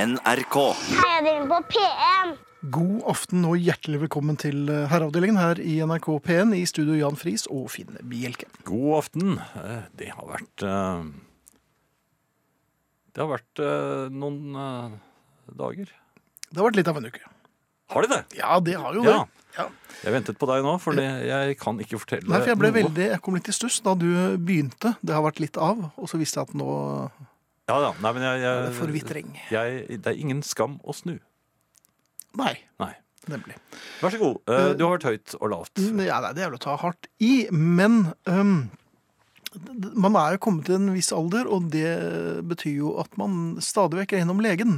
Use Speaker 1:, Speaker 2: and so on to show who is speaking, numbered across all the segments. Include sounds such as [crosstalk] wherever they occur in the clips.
Speaker 1: NRK.
Speaker 2: Heia dere på P1!
Speaker 3: God aften og hjertelig velkommen til eh, Herreavdelingen her i NRK P1 i studio Jan Friis og Finn Bjelke.
Speaker 4: God aften. Eh, Det har vært eh, Det har vært eh, noen eh, dager.
Speaker 3: Det har vært litt av en uke.
Speaker 4: Har de det?
Speaker 3: Ja, det har jo det.
Speaker 4: Ja.
Speaker 3: Ja.
Speaker 4: Jeg ventet på deg nå, for jeg kan ikke fortelle
Speaker 3: Nei, for jeg, ble
Speaker 4: noe.
Speaker 3: veldig, jeg kom litt i stuss da du begynte. Det har vært litt av, og så visste jeg at nå
Speaker 4: Ja, ja. Nei, men jeg,
Speaker 3: er det
Speaker 4: jeg,
Speaker 3: forvitring.
Speaker 4: jeg, det er ingen skam å snu.
Speaker 3: Nei,
Speaker 4: Nei.
Speaker 3: nemlig.
Speaker 4: Vær så god. Eh, Du har vært høyt og lavt.
Speaker 3: Ja, nei, det er vel å ta hardt i, men øhm, d- d- man er jo kommet til en viss alder, og det betyr jo at man stadig vekk er innom legen.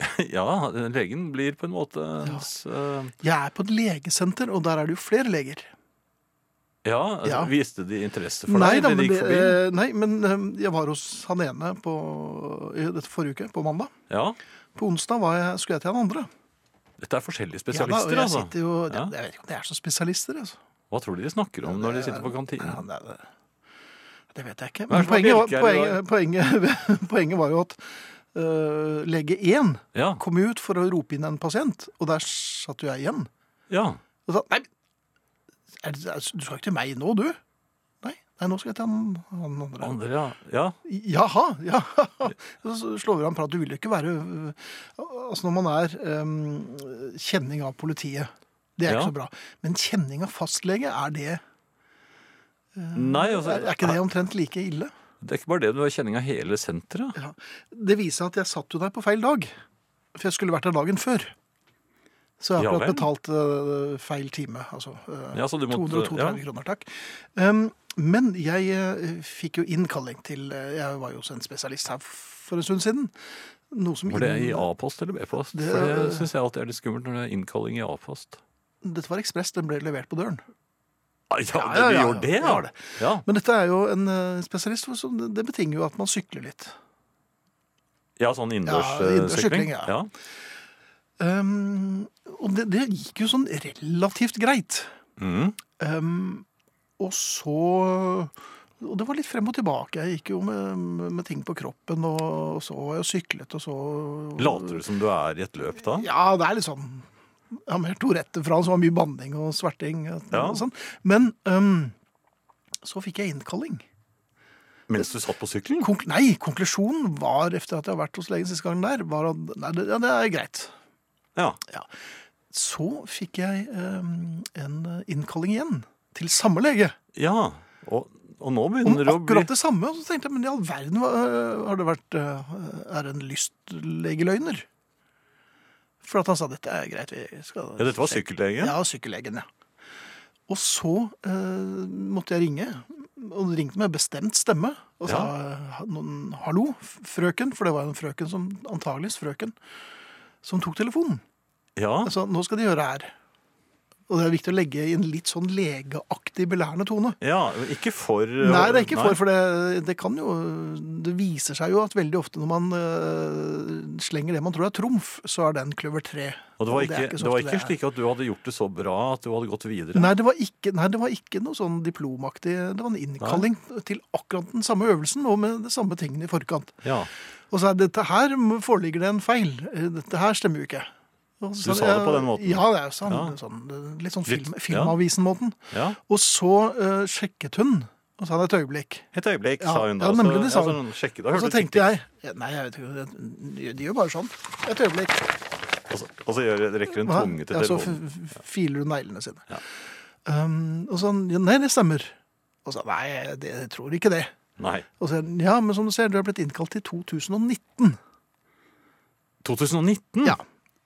Speaker 4: [laughs] Ja, legen blir på en måte ens, eh,
Speaker 3: Jeg er på et legesenter, og der er det jo flere leger.
Speaker 4: Ja,
Speaker 3: Ja.
Speaker 4: viste de interesse for
Speaker 3: nei,
Speaker 4: deg?
Speaker 3: da,
Speaker 4: eller
Speaker 3: men,
Speaker 4: gikk
Speaker 3: det,
Speaker 4: forbi?
Speaker 3: eh, nei, men eh, jeg var hos han ene på, i dette forrige uke, på mandag.
Speaker 4: Ja.
Speaker 3: På onsdag var jeg, skulle jeg til han andre.
Speaker 4: Dette er forskjellige
Speaker 3: Ja, da, og
Speaker 4: spesialister,
Speaker 3: jeg
Speaker 4: altså.
Speaker 3: sitter Jo, ja.
Speaker 4: Ja.
Speaker 3: Jeg vet ikke om de er så spesialister. Altså.
Speaker 4: Hva tror de de snakker om når de sitter på
Speaker 3: Ja,
Speaker 4: kantinen?
Speaker 3: det, er det. det vet jeg ikke.
Speaker 4: Hva er
Speaker 3: Men
Speaker 4: det som er
Speaker 3: poenget, var,
Speaker 4: bjelker
Speaker 3: poenget, poenget, [laughs] poenget var jo at eh, lege 1
Speaker 4: Ja.
Speaker 3: kom ut for å rope inn en pasient, og der satt jo jeg igjen.
Speaker 4: ja.
Speaker 3: Og sa, nei, er, det- er, du skal ikke til meg nå, du? Nei, nei nå skal jeg til han, han andre.
Speaker 4: Andre, ja. ja.
Speaker 3: Jaha, ja. [laughs] Så slår vi av en prat. Du vil jo ikke være Altså når man er em, kjenning av politiet, det er
Speaker 4: Ja.
Speaker 3: ikke så bra. Men kjenning av fastlege, er det
Speaker 4: Nei, altså,
Speaker 3: er, er ikke det omtrent like ille?
Speaker 4: Det er ikke bare det, du har kjenning av hele senteret.
Speaker 3: Ja. Det viser at jeg satt jo der på feil dag. For jeg skulle vært der dagen før. Så jeg har
Speaker 4: Ja
Speaker 3: akkurat
Speaker 4: vel.
Speaker 3: betalt eh, feil time. Altså eh,
Speaker 4: Ja, så du måtte-
Speaker 3: 232
Speaker 4: ja.
Speaker 3: kroner, takk. Em, men jeg eh, fikk jo innkalling til eh, Jeg var jo også en spesialist her for en stund siden. Noe som
Speaker 4: Var det
Speaker 3: inn-
Speaker 4: i A-post eller B-post?
Speaker 3: Det-
Speaker 4: For det syns jeg alltid er litt skummelt når det er innkalling i A-post.
Speaker 3: Dette var Ekspress, den ble levert på døren.
Speaker 4: Ah, Ja,
Speaker 3: ja,
Speaker 4: du
Speaker 3: ja,
Speaker 4: gjorde det,
Speaker 3: ja.
Speaker 4: ja. ja!
Speaker 3: Men dette er jo en eh, spesialist, hvor- så det det betinger jo at man sykler litt.
Speaker 4: Ja, sånn
Speaker 3: Ja, innendørs sykling,
Speaker 4: innendørssykling.
Speaker 3: ja.
Speaker 4: Ja.
Speaker 3: Um, og det, det gikk jo sånn relativt greit.
Speaker 4: Mm.
Speaker 3: Um, og så Og det var litt frem og tilbake. Jeg gikk jo med, med ting på kroppen, og så var jeg og syklet, og så
Speaker 4: Later du som du er i et løp da?
Speaker 3: Ja, det er litt sånn Jeg har mer Tourette fra han som var mye banning og sverting. Og,
Speaker 4: Ja.
Speaker 3: og sånn. Men um, så fikk jeg innkalling.
Speaker 4: Mens du satt på sykkelen?
Speaker 3: Konk nei, konklusjonen var, etter at jeg har vært hos legen siste gangen der, var at nei, det, ja, det er greit.
Speaker 4: Ja.
Speaker 3: Så fikk jeg um, en innkalling igjen til samme lege.
Speaker 4: ja. Og, og nå
Speaker 3: Om
Speaker 4: begynner det å bli
Speaker 3: akkurat det samme. Og så tenkte jeg, men i all verden, hva, øh, har det vært øh, Er det en lystlegeløgner? For at han sa dette er greit, vi skal
Speaker 4: Ja, dette var sykkellege?
Speaker 3: Ja, sykkellegen, ja. Og så øh, måtte jeg ringe, og ringte med bestemt stemme. Og sa øh, noen, 'hallo, frøken', for det var en frøken som antageligvis frøken, som tok telefonen.
Speaker 4: Ja.
Speaker 3: Altså, nå skal de gjøre her. Og det er viktig å legge i en litt sånn legeaktig, belærende tone.
Speaker 4: ja. Ikke for
Speaker 3: Nei, det er ikke for, for det, det kan jo Det viser seg jo at veldig ofte når man øh, slenger det man tror er trumf, så er den kløver tre.
Speaker 4: Og det var ikke,
Speaker 3: er
Speaker 4: det
Speaker 3: så
Speaker 4: var
Speaker 3: ofte
Speaker 4: ikke
Speaker 3: er.
Speaker 4: slik at du hadde gjort det så bra at du hadde gått videre?
Speaker 3: Nei det, var ikke, nei, det var ikke noe sånn diplomaktig Det var en innkalling til akkurat den samme øvelsen og med de samme tingene i forkant.
Speaker 4: Ja.
Speaker 3: Og så er dette her foreligger det en feil. Eh, Dette her stemmer jo ikke. Og
Speaker 4: Du sa det på den måten.
Speaker 3: Ja, det er jo sånn,
Speaker 4: Ja.
Speaker 3: sånn, litt sånn
Speaker 4: Litt-
Speaker 3: film,
Speaker 4: ja.
Speaker 3: Filmavisen-måten.
Speaker 4: ja.
Speaker 3: Og så øh, sjekket hun, og sa det et øyeblikk.
Speaker 4: Et øyeblikk,
Speaker 3: Ja,
Speaker 4: sa hun da.
Speaker 3: ja,
Speaker 4: Så-
Speaker 3: nemlig, det sa
Speaker 4: så
Speaker 3: hun.
Speaker 4: sjekket, da
Speaker 3: Og
Speaker 4: hørte
Speaker 3: så
Speaker 4: du
Speaker 3: tenkte
Speaker 4: tikk,
Speaker 3: jeg ja, Nei, jeg vet ikke, de- de gjør bare sånn. Et øyeblikk.
Speaker 4: tikk. Og så, og så gjør, rekker hun
Speaker 3: Hva?
Speaker 4: tunge til
Speaker 3: Ja, så
Speaker 4: telefonen.
Speaker 3: f- f- filer hun neglene sine.
Speaker 4: Ja.
Speaker 3: Um, og sånn ja, Nei, det stemmer. Og så Nei, jeg, det, jeg tror ikke det.
Speaker 4: Nei.
Speaker 3: Og så Ja, men som du ser, du er blitt innkalt til 2019.
Speaker 4: 2019?
Speaker 3: Ja.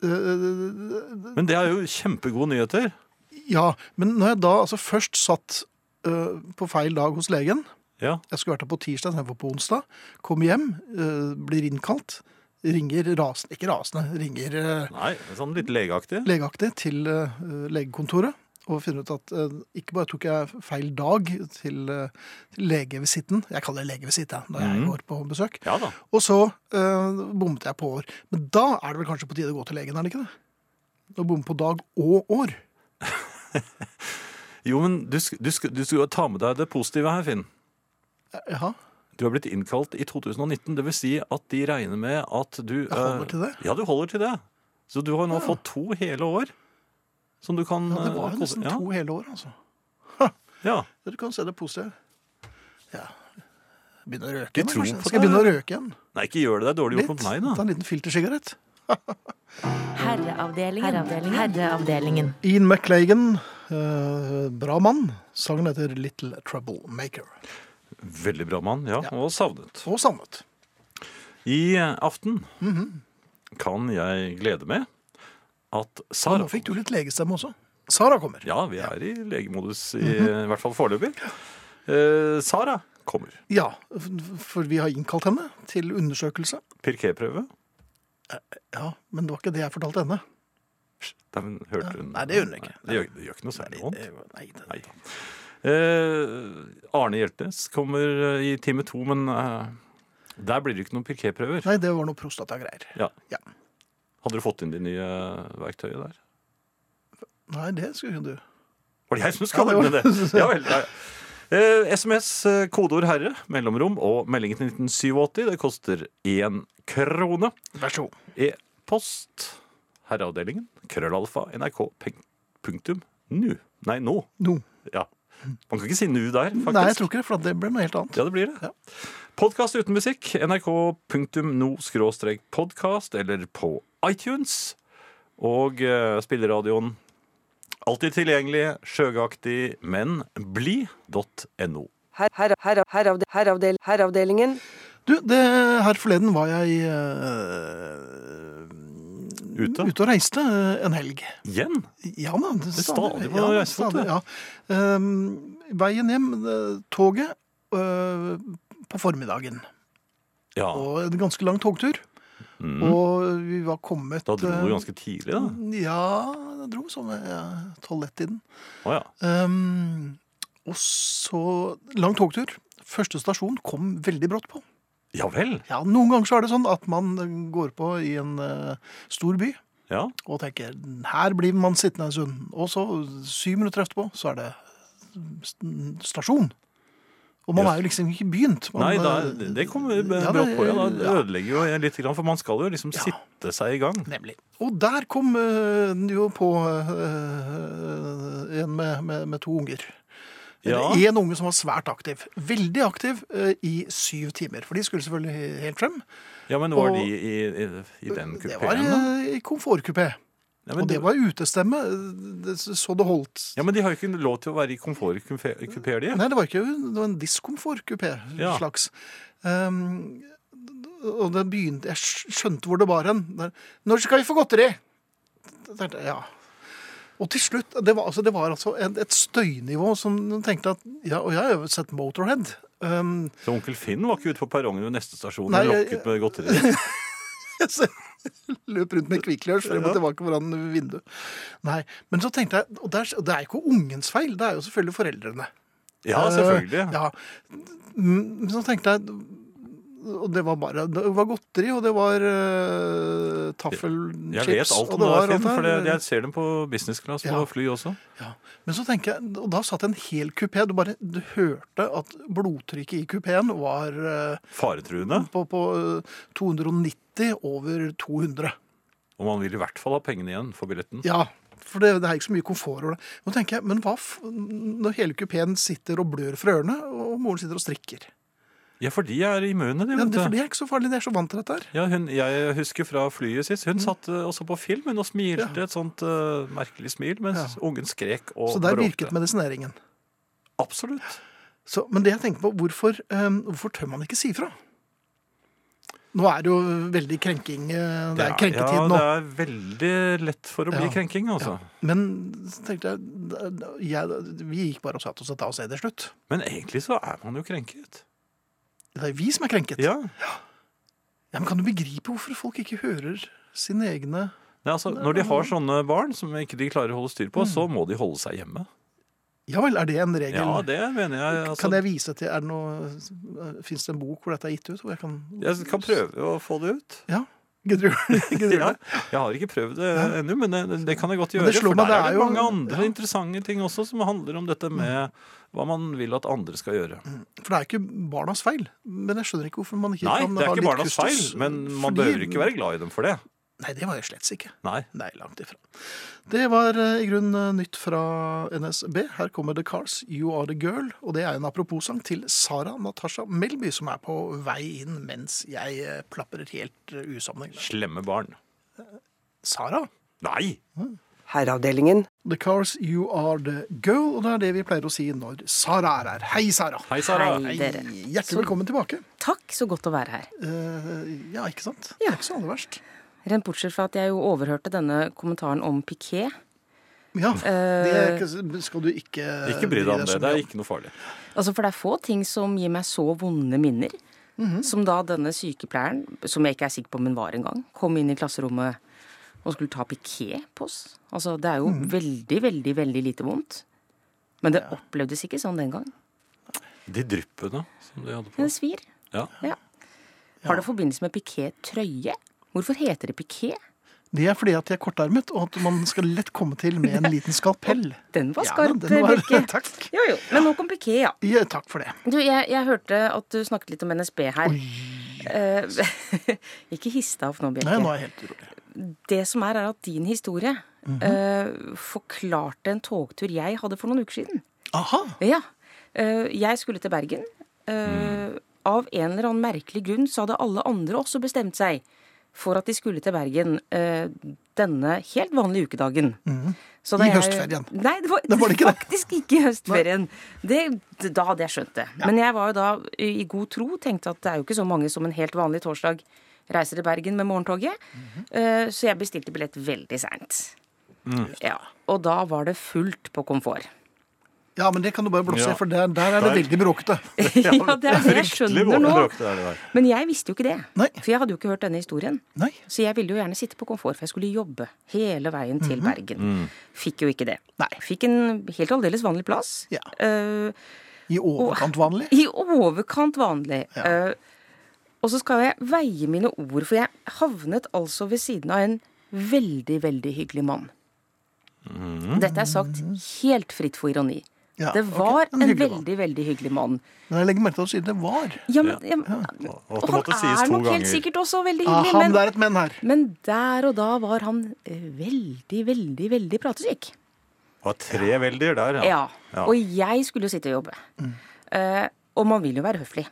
Speaker 3: Uh,
Speaker 4: Men det er jo kjempegode nyheter.
Speaker 3: ja, men når jeg da altså først satt uh, på feil dag hos legen
Speaker 4: Ja.
Speaker 3: Jeg skulle vært der på tirsdag istedenfor på onsdag. Kommer hjem, uh, blir innkalt. Ringer rasende Ikke rasende, ringer uh,
Speaker 4: Nei, sånn litt legeaktig.
Speaker 3: legeaktig til eh, legekontoret og finner ut at eh, ikke bare tok jeg feil dag til eh, legevisitten, jeg kaller det legevisitt jeg, når
Speaker 4: Mhm.
Speaker 3: jeg går på besøk,
Speaker 4: Ja da.
Speaker 3: og så eh, bommet jeg på år. Men da er det vel kanskje på tide å gå til legen, er det ikke det? Å bomme på dag og år.
Speaker 4: Jo, men du, sk- du, sk- du skulle jo ta med deg det positive her, Finn.
Speaker 3: Jaha.
Speaker 4: Du har blitt innkalt i 2019. Det vil si at de regner med at du
Speaker 3: Jeg holder
Speaker 4: eh,
Speaker 3: til det.
Speaker 4: Ja, du holder til det. Så du har nå
Speaker 3: Ja.
Speaker 4: fått to hele år som du kan
Speaker 3: Ja, det
Speaker 4: eh,
Speaker 3: var jo
Speaker 4: kose-
Speaker 3: nesten to hele år, altså.
Speaker 4: Ja, ja.
Speaker 3: Dere kan se det positive. Ja. Begynne å røyke
Speaker 4: Vi
Speaker 3: igjen, da,
Speaker 4: tror
Speaker 3: kanskje.
Speaker 4: på
Speaker 3: Skal jeg
Speaker 4: det.
Speaker 3: begynne å røyke igjen?
Speaker 4: Nei, ikke gjør det. Det er dårlig gjort mot meg,
Speaker 3: Ta
Speaker 4: da.
Speaker 3: en liten filtersigarett.
Speaker 1: Herreavdelingen. Herreavdelingen. Herreavdelingen.
Speaker 3: Ian McLagan, eh, bra mann. Sangen heter Little Troublemaker.
Speaker 4: Veldig bra mann, ja. Og savnet.
Speaker 3: Og savnet.
Speaker 4: I aften kan jeg glede med at
Speaker 3: Og
Speaker 4: Sara
Speaker 3: nå fikk du litt legestemme også. Sara kommer.
Speaker 4: Ja, vi er i legemodus, i,
Speaker 3: Mhm.
Speaker 4: i hvert fall foreløpig. Eh, Sara kommer.
Speaker 3: Ja, f- for vi har innkalt henne til undersøkelse.
Speaker 4: Pirquet-prøve.
Speaker 3: Ja, men det var ikke det jeg fortalte henne.
Speaker 4: Nei, men hørte hun
Speaker 3: Nei, det gjør hun ikke.
Speaker 4: Nei, det, gjør, det gjør ikke noe særlig vondt.
Speaker 3: Eh, Nei, det-
Speaker 4: Nei da. Eh, Arne Hjeltnes kommer eh, i time to, men eh, der blir det ikke noen pirquetprøver.
Speaker 3: Nei, det var noe prostatagreier.
Speaker 4: Ja.
Speaker 3: Ja.
Speaker 4: Hadde du fått inn de nye verktøyet der?
Speaker 3: Nei, det skulle du.
Speaker 4: Var det jeg som skal
Speaker 3: Ja, det var-
Speaker 4: nevne det? Ja vel. Ja. Eh, SMS, eh, kodeord 'herre', mellomrom og meldingen til 1987. Det koster én krone.
Speaker 3: Vær så god.
Speaker 4: E-post herreavdelingen krøllalfa nrk pen- punktum nu. Nei, nå.
Speaker 3: No.
Speaker 4: Ja. Man kan ikke si nu der, faktisk.
Speaker 3: Nei, jeg tror ikke det, for det ble noe helt annet.
Speaker 4: Ja, det blir det. Podkast uten musikk. nrk.no-podkast eller på iTunes. Og eh, spilleradioen alltid tilgjengelig, skjøgaktig, men bli.no.
Speaker 5: Her, her, her, heravde, heravdel, heravdelingen.
Speaker 3: Du, det, her forleden var jeg eh,
Speaker 4: Ute.
Speaker 3: ute og reiste eh, en helg.
Speaker 4: Igjen?
Speaker 3: Ja da. Det
Speaker 4: er stadig på
Speaker 3: ja, det er
Speaker 4: reisefot,
Speaker 3: stadig,
Speaker 4: det.
Speaker 3: ja. Ehm, veien hjem, eh, toget, eh, på formiddagen.
Speaker 4: Ja.
Speaker 3: Og en ganske lang togtur. Og vi var kommet
Speaker 4: Mm. Da dro
Speaker 3: eh,
Speaker 4: du ganske tidlig, da.
Speaker 3: Ja, jeg dro sånn ved eh, tolv-ett-tiden.
Speaker 4: Å ja.
Speaker 3: Ehm, og så lang togtur. Første stasjon kom veldig brått på.
Speaker 4: Ja vel.
Speaker 3: Ja, Noen ganger så er det sånn at man går på i en eh, stor by
Speaker 4: Ja.
Speaker 3: og tenker her blir man sittende en stund. Og så syv minutter etterpå så er det st- stasjon. Og man
Speaker 4: Jøss.
Speaker 3: er jo liksom ikke begynt. Man,
Speaker 4: Nei, da,
Speaker 3: eh,
Speaker 4: det kommer b-
Speaker 3: ja,
Speaker 4: brått på. Ja, da
Speaker 3: ja,
Speaker 4: ødelegger jo jeg litt, grann, for man skal jo liksom sitte seg i gang.
Speaker 3: Nemlig. Og der kom eh, den jo på eh, en med, med, med to unger.
Speaker 4: Ja.
Speaker 3: Eller En unge som var svært aktiv. Veldig aktiv eh, i syv timer. For de skulle selvfølgelig helt frem.
Speaker 4: Ja, men var
Speaker 3: Og-
Speaker 4: de i, i, i den
Speaker 3: Det var
Speaker 4: kupeen, da?
Speaker 3: eh, i komfortkupé.
Speaker 4: Ja,
Speaker 3: Og
Speaker 4: men,
Speaker 3: det var utestemme, eh, det- så det holdt.
Speaker 4: ja, men de har jo ikke lov til å være i komfortkupeer, de.
Speaker 3: Nei, det var ikke det var en diskomfortkupé
Speaker 4: Ja.
Speaker 3: slags. Ehm, og det begynte, jeg skj- skjønte hvor det var hen. Der, Når skal vi få godteri? Da tenkte jeg, Ja. Og til slutt, det var altså, det var altså et, et støynivå som du tenkte at, ja, og jeg har jo sett Motorhead. Ehm, [laughs]
Speaker 4: Så onkel Finn var ikke ute på perrongen ved neste stasjon
Speaker 3: Nei,
Speaker 4: og
Speaker 3: jeg-
Speaker 4: lokket med godteri?
Speaker 3: så jeg løp rundt med kvikklørs frem og tilbake foran vinduet. Nei, men så tenkte jeg, og det er, og det er jo ikke ungens feil, det er jo selvfølgelig foreldrene.
Speaker 4: Ja,
Speaker 3: Eh,
Speaker 4: selvfølgelig.
Speaker 3: Ja. Men så tenkte jeg og det var bare det var godteri, og det var uh, taffelchips
Speaker 4: Jeg vet alt
Speaker 3: og
Speaker 4: om det,
Speaker 3: var
Speaker 4: der, Finn,
Speaker 3: alt
Speaker 4: for det,
Speaker 3: der.
Speaker 4: jeg ser dem på business class på
Speaker 3: Ja.
Speaker 4: fly også.
Speaker 3: ja. Men så tenker jeg, og da satt en hel kupé. Du bare du hørte at blodtrykket i kupeen var eh,
Speaker 4: Faretruende.
Speaker 3: på, på eh, 290 over 200.
Speaker 4: Og man vil i hvert fall ha pengene igjen for billetten.
Speaker 3: Ja, for det, det er ikke så mye komfort over det. Nå tenker jeg, men hva f når hele kupeen sitter og blør fra ørene, og moren sitter og strikker?
Speaker 4: Ja, for de er immune, de.
Speaker 3: Ja, det,
Speaker 4: vet
Speaker 3: for
Speaker 4: du.
Speaker 3: det er ikke så farlig, de er så vant til dette her.
Speaker 4: Ja, hun, jeg husker fra flyet sist.
Speaker 3: Mm.
Speaker 4: Hun satt eh, også på film hun, og smilte et sånt eh, merkelig smil, mens ungen skrek og
Speaker 3: Så der
Speaker 4: bråkte.
Speaker 3: virket medisineringen.
Speaker 4: Absolutt.
Speaker 3: Så, men det jeg tenker på, hvorfor, eh, hvorfor tør man ikke si fra? Nå er det jo veldig krenking, eh, det er krenketid
Speaker 4: ja,
Speaker 3: nå.
Speaker 4: det er veldig lett for å bli
Speaker 3: Ja.
Speaker 4: krenking, altså.
Speaker 3: Men så tenkte jeg, da- da- jeg, vi gikk bare og satt oss et annet sted til slutt.
Speaker 4: Men egentlig så er man jo krenket.
Speaker 3: Det er vi som er krenket.
Speaker 4: Ja.
Speaker 3: Ja, men kan du begripe hvorfor folk ikke hører sine egne
Speaker 4: Nei, altså, når de har sånne barn som ikke de klarer å holde styr på, så må de holde seg hjemme.
Speaker 3: Ja vel, er det en regel?
Speaker 4: Ja, det mener jeg. Altså,
Speaker 3: Kan jeg vise til, er det eh, noe, finnes det en bok hvor dette er gitt ut? Hvor jeg kan...
Speaker 4: jeg kan prøve å få det ut.
Speaker 3: Ja, Gidder du [laughs] gidder du
Speaker 4: Ja,
Speaker 3: det?
Speaker 4: jeg har ikke prøvd det ennå, men det, det kan jeg godt
Speaker 3: Men
Speaker 4: gjøre.
Speaker 3: det
Speaker 4: For
Speaker 3: slår
Speaker 4: der
Speaker 3: meg, det
Speaker 4: er
Speaker 3: er
Speaker 4: det
Speaker 3: jo-
Speaker 4: mange andre interessante ting også som handler om dette med hva man vil at andre skal gjøre.
Speaker 3: For det er ikke barnas feil. Men jeg skjønner ikke hvorfor man ikke
Speaker 4: Nei,
Speaker 3: kan
Speaker 4: det
Speaker 3: ha
Speaker 4: er ikke
Speaker 3: litt
Speaker 4: barnas feil,
Speaker 3: kustus,
Speaker 4: men man
Speaker 3: fordi-
Speaker 4: behøver ikke være glad i dem for det.
Speaker 3: Nei, det var jeg slett ikke.
Speaker 4: Nei.
Speaker 3: Nei, langt ifra. Det var eh, i grunnen eh, nytt fra NSB. Her kommer The Cars, You Are The Girl. Og det er en apropos-sang til Sara Natasha Melby, som er på vei inn mens jeg eh, plaprer helt eh, usammenhengende.
Speaker 4: Slemme barn.
Speaker 3: Sara?
Speaker 4: Nei!
Speaker 5: Herreavdelingen.
Speaker 3: The Cars, You Are The Girl. Og det er det vi pleier å si når Sara er her. Hei, Sara.
Speaker 4: Hei, Sara.
Speaker 1: Hei. dere.
Speaker 3: Hjertelig velkommen tilbake.
Speaker 1: Takk, så godt å være her.
Speaker 3: Eh, ja, ikke sant?
Speaker 1: Ja.
Speaker 3: Det er ikke så aller verst.
Speaker 1: Rent bortsett fra at jeg jo overhørte denne kommentaren om piké.
Speaker 3: Ja, det
Speaker 1: Eh,
Speaker 3: er ikke- skal du ikke
Speaker 4: Ikke bry deg om det.
Speaker 3: så
Speaker 4: Det
Speaker 3: mye
Speaker 4: er ikke noe farlig.
Speaker 1: Altså, for det er få ting som gir meg så vonde minner.
Speaker 3: Mhm.
Speaker 1: Som da denne sykepleieren, som jeg ikke er sikker på om hun var engang, kom inn i klasserommet og skulle ta piké på oss. Altså, det er jo
Speaker 3: Mhm.
Speaker 1: veldig, veldig, veldig lite vondt. Men det opplevdes ikke sånn den gang.
Speaker 4: De dryppene som de hadde
Speaker 1: Men
Speaker 4: på.
Speaker 1: det svir.
Speaker 4: Ja.
Speaker 1: Ja. Har det forbindelse med piké-trøye? Hvorfor heter det piké?
Speaker 3: Det er fordi at jeg er kortarmet, og at man skal lett komme til med en liten
Speaker 1: [laughs]
Speaker 3: skalpell.
Speaker 1: Den var
Speaker 3: Ja,
Speaker 1: skarp,
Speaker 3: den var- [laughs]
Speaker 1: Birke.
Speaker 3: Takk.
Speaker 1: Jo, jo. Men nok om piké, ja.
Speaker 3: Ja, takk for det.
Speaker 1: Du, jeg, jeg hørte at du snakket litt om NSB her. Eh, [laughs] ikke hiss deg opp nå, Bjerke.
Speaker 3: Nei, nå er jeg helt urolig.
Speaker 1: Det som er, er at din historie
Speaker 3: Mhm.
Speaker 1: eh, forklarte en togtur jeg hadde for noen uker siden.
Speaker 3: Aha.
Speaker 1: Ja. Eh, jeg skulle til Bergen. Eh, Av en eller annen merkelig grunn så hadde alle andre også bestemt seg for at de skulle til Bergen eh, denne helt vanlige ukedagen. Så da
Speaker 3: Mm. I
Speaker 1: jeg-
Speaker 3: høstferien.
Speaker 1: Nei, det var,
Speaker 3: Da var det ikke det.
Speaker 1: faktisk ikke i høstferien. Det, da hadde jeg skjønt det. Men jeg var jo da i i god tro tenkte at det er jo ikke så mange som en helt vanlig torsdag reiser til Bergen med morgentoget.
Speaker 3: Mhm.
Speaker 1: Eh, Så jeg bestilte billett veldig seint. Ja, og da var det fullt på komfort.
Speaker 3: Ja, men det kan du bare blåse i,
Speaker 4: Ja.
Speaker 3: for der, der er det
Speaker 4: Der.
Speaker 3: veldig bråkete.
Speaker 1: [laughs] ja, det er det jeg
Speaker 4: Fryktelig
Speaker 1: skjønner
Speaker 4: våre
Speaker 1: nå.
Speaker 4: drakter er det der.
Speaker 1: Men jeg visste jo ikke det.
Speaker 3: Nei.
Speaker 1: For jeg hadde jo ikke hørt denne historien.
Speaker 3: Nei.
Speaker 1: Så jeg ville jo gjerne sitte på komfort, for jeg skulle jobbe hele veien til Bergen. Fikk jo ikke det.
Speaker 3: Mhm. Mm. Nei.
Speaker 1: Fikk en helt aldeles vanlig plass.
Speaker 3: Ja.
Speaker 1: Eh,
Speaker 3: I overkant vanlig.
Speaker 1: [laughs] I overkant vanlig. Eh, og så skal jeg veie mine ord, for jeg havnet altså ved siden av en veldig, veldig hyggelig mann. Dette er sagt helt fritt for ironi.
Speaker 3: Mhm. Ja,
Speaker 1: det
Speaker 3: ok.
Speaker 1: var
Speaker 3: En
Speaker 1: en,
Speaker 3: hyggelig mann.
Speaker 1: veldig, veldig hyggelig mann.
Speaker 3: Men jeg legger merke til at du sier det var.
Speaker 1: Ja, men,
Speaker 4: Ja.
Speaker 1: ja, men-
Speaker 4: Og at
Speaker 1: og
Speaker 4: det
Speaker 1: han
Speaker 4: måtte sies
Speaker 1: er
Speaker 4: to
Speaker 1: nok helt
Speaker 4: ganger.
Speaker 1: sikkert også veldig
Speaker 3: Ah,
Speaker 1: hyggelig,
Speaker 3: han,
Speaker 1: men
Speaker 3: det er et men her.
Speaker 1: men der og da var han eh, veldig, veldig, veldig pratesyk.
Speaker 4: Det var tre veldier der,
Speaker 1: Ja.
Speaker 4: Ja.
Speaker 1: Og jeg skulle jo sitte og jobbe.
Speaker 3: Mm.
Speaker 1: Eh, og man vil jo være høflig.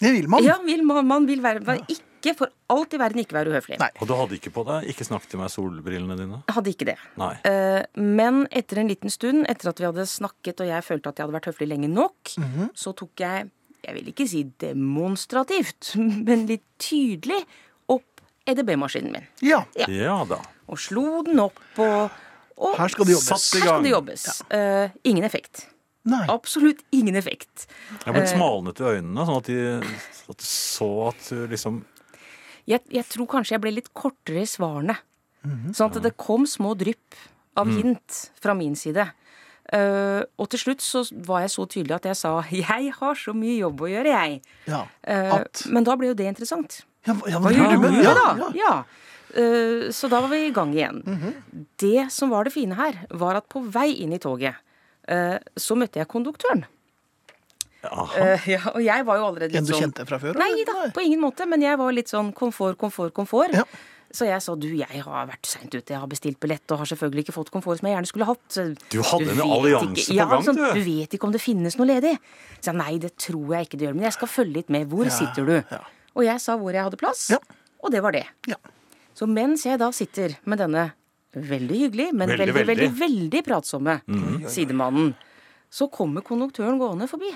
Speaker 3: Det vil man.
Speaker 1: Ja, vil, man, man vil være, være ikke for alt i verden ikke være uhøflig.
Speaker 3: Nei.
Speaker 4: Og du hadde ikke på deg 'ikke snakk til meg' solbrillene dine?
Speaker 1: Jeg hadde ikke det.
Speaker 4: Nei.
Speaker 1: Eh, men etter en liten stund, etter at vi hadde snakket og jeg følte at jeg hadde vært høflig lenge nok,
Speaker 3: Mhm.
Speaker 1: så tok jeg, jeg vil ikke si demonstrativt, [laughs] men litt tydelig opp EDB-maskinen min.
Speaker 3: Ja.
Speaker 4: Ja da.
Speaker 1: Og slo den opp og, og
Speaker 3: Her skal det jobbes.
Speaker 4: Satt
Speaker 1: Her
Speaker 4: i
Speaker 1: skal
Speaker 4: gang.
Speaker 1: det jobbes. Eh, ingen effekt.
Speaker 3: Nei.
Speaker 1: Absolutt ingen effekt.
Speaker 4: Jeg ble
Speaker 1: Eh.
Speaker 4: smalnet i øynene, sånn at de at du så at du liksom
Speaker 1: Jeg, jeg tror kanskje jeg ble litt kortere i svarene.
Speaker 3: Mhm.
Speaker 1: Sånn at det kom små drypp av
Speaker 4: Mm.
Speaker 1: hint fra min side. Eh, og til slutt så var jeg så tydelig at jeg sa [laughs] 'jeg har så mye jobb å gjøre, jeg'.
Speaker 3: Ja.
Speaker 1: Eh,
Speaker 3: At
Speaker 1: men da ble jo det interessant.
Speaker 3: Ja, hva- ja,
Speaker 1: Eh, Hva
Speaker 3: hva
Speaker 1: gjør
Speaker 3: gjør
Speaker 1: du
Speaker 3: du?
Speaker 1: med
Speaker 3: Ja,
Speaker 1: det, da?
Speaker 3: ja.
Speaker 1: Ja. Eh, Så da var vi i gang igjen. Det som var det fine her, var at på vei inn i toget eh, så møtte jeg konduktøren.
Speaker 4: Aha.
Speaker 1: Eh, ja, og jeg var jo allerede
Speaker 3: En
Speaker 1: litt
Speaker 3: du
Speaker 1: sånn
Speaker 3: kjente fra før?
Speaker 1: Nei
Speaker 3: eller?
Speaker 1: da, på ingen måte. Men jeg var litt sånn komfort, komfort, komfort.
Speaker 3: Ja.
Speaker 1: Så jeg sa du, jeg har vært seint ute, jeg har bestilt billett og har selvfølgelig ikke fått komfort som jeg gjerne skulle hatt. så
Speaker 4: Du hadde en
Speaker 1: vet
Speaker 4: allianse
Speaker 1: ikke-
Speaker 4: på
Speaker 1: ja,
Speaker 4: gang,
Speaker 1: sånn,
Speaker 4: du.
Speaker 1: Du vet ikke om det finnes noe ledig. Så jeg, nei, det tror jeg ikke det gjør, men jeg skal følge litt med. Hvor sitter du?
Speaker 3: ja.
Speaker 1: Og jeg sa hvor jeg hadde plass,
Speaker 3: Ja.
Speaker 1: og det var det.
Speaker 3: Ja.
Speaker 1: Så mens jeg da sitter med denne veldig hyggelig, men veldig,
Speaker 4: Veldig,
Speaker 1: veldig, veldig,
Speaker 4: veldig.
Speaker 1: pratsomme
Speaker 3: Mhm.
Speaker 1: sidemannen, så kommer konduktøren gående forbi.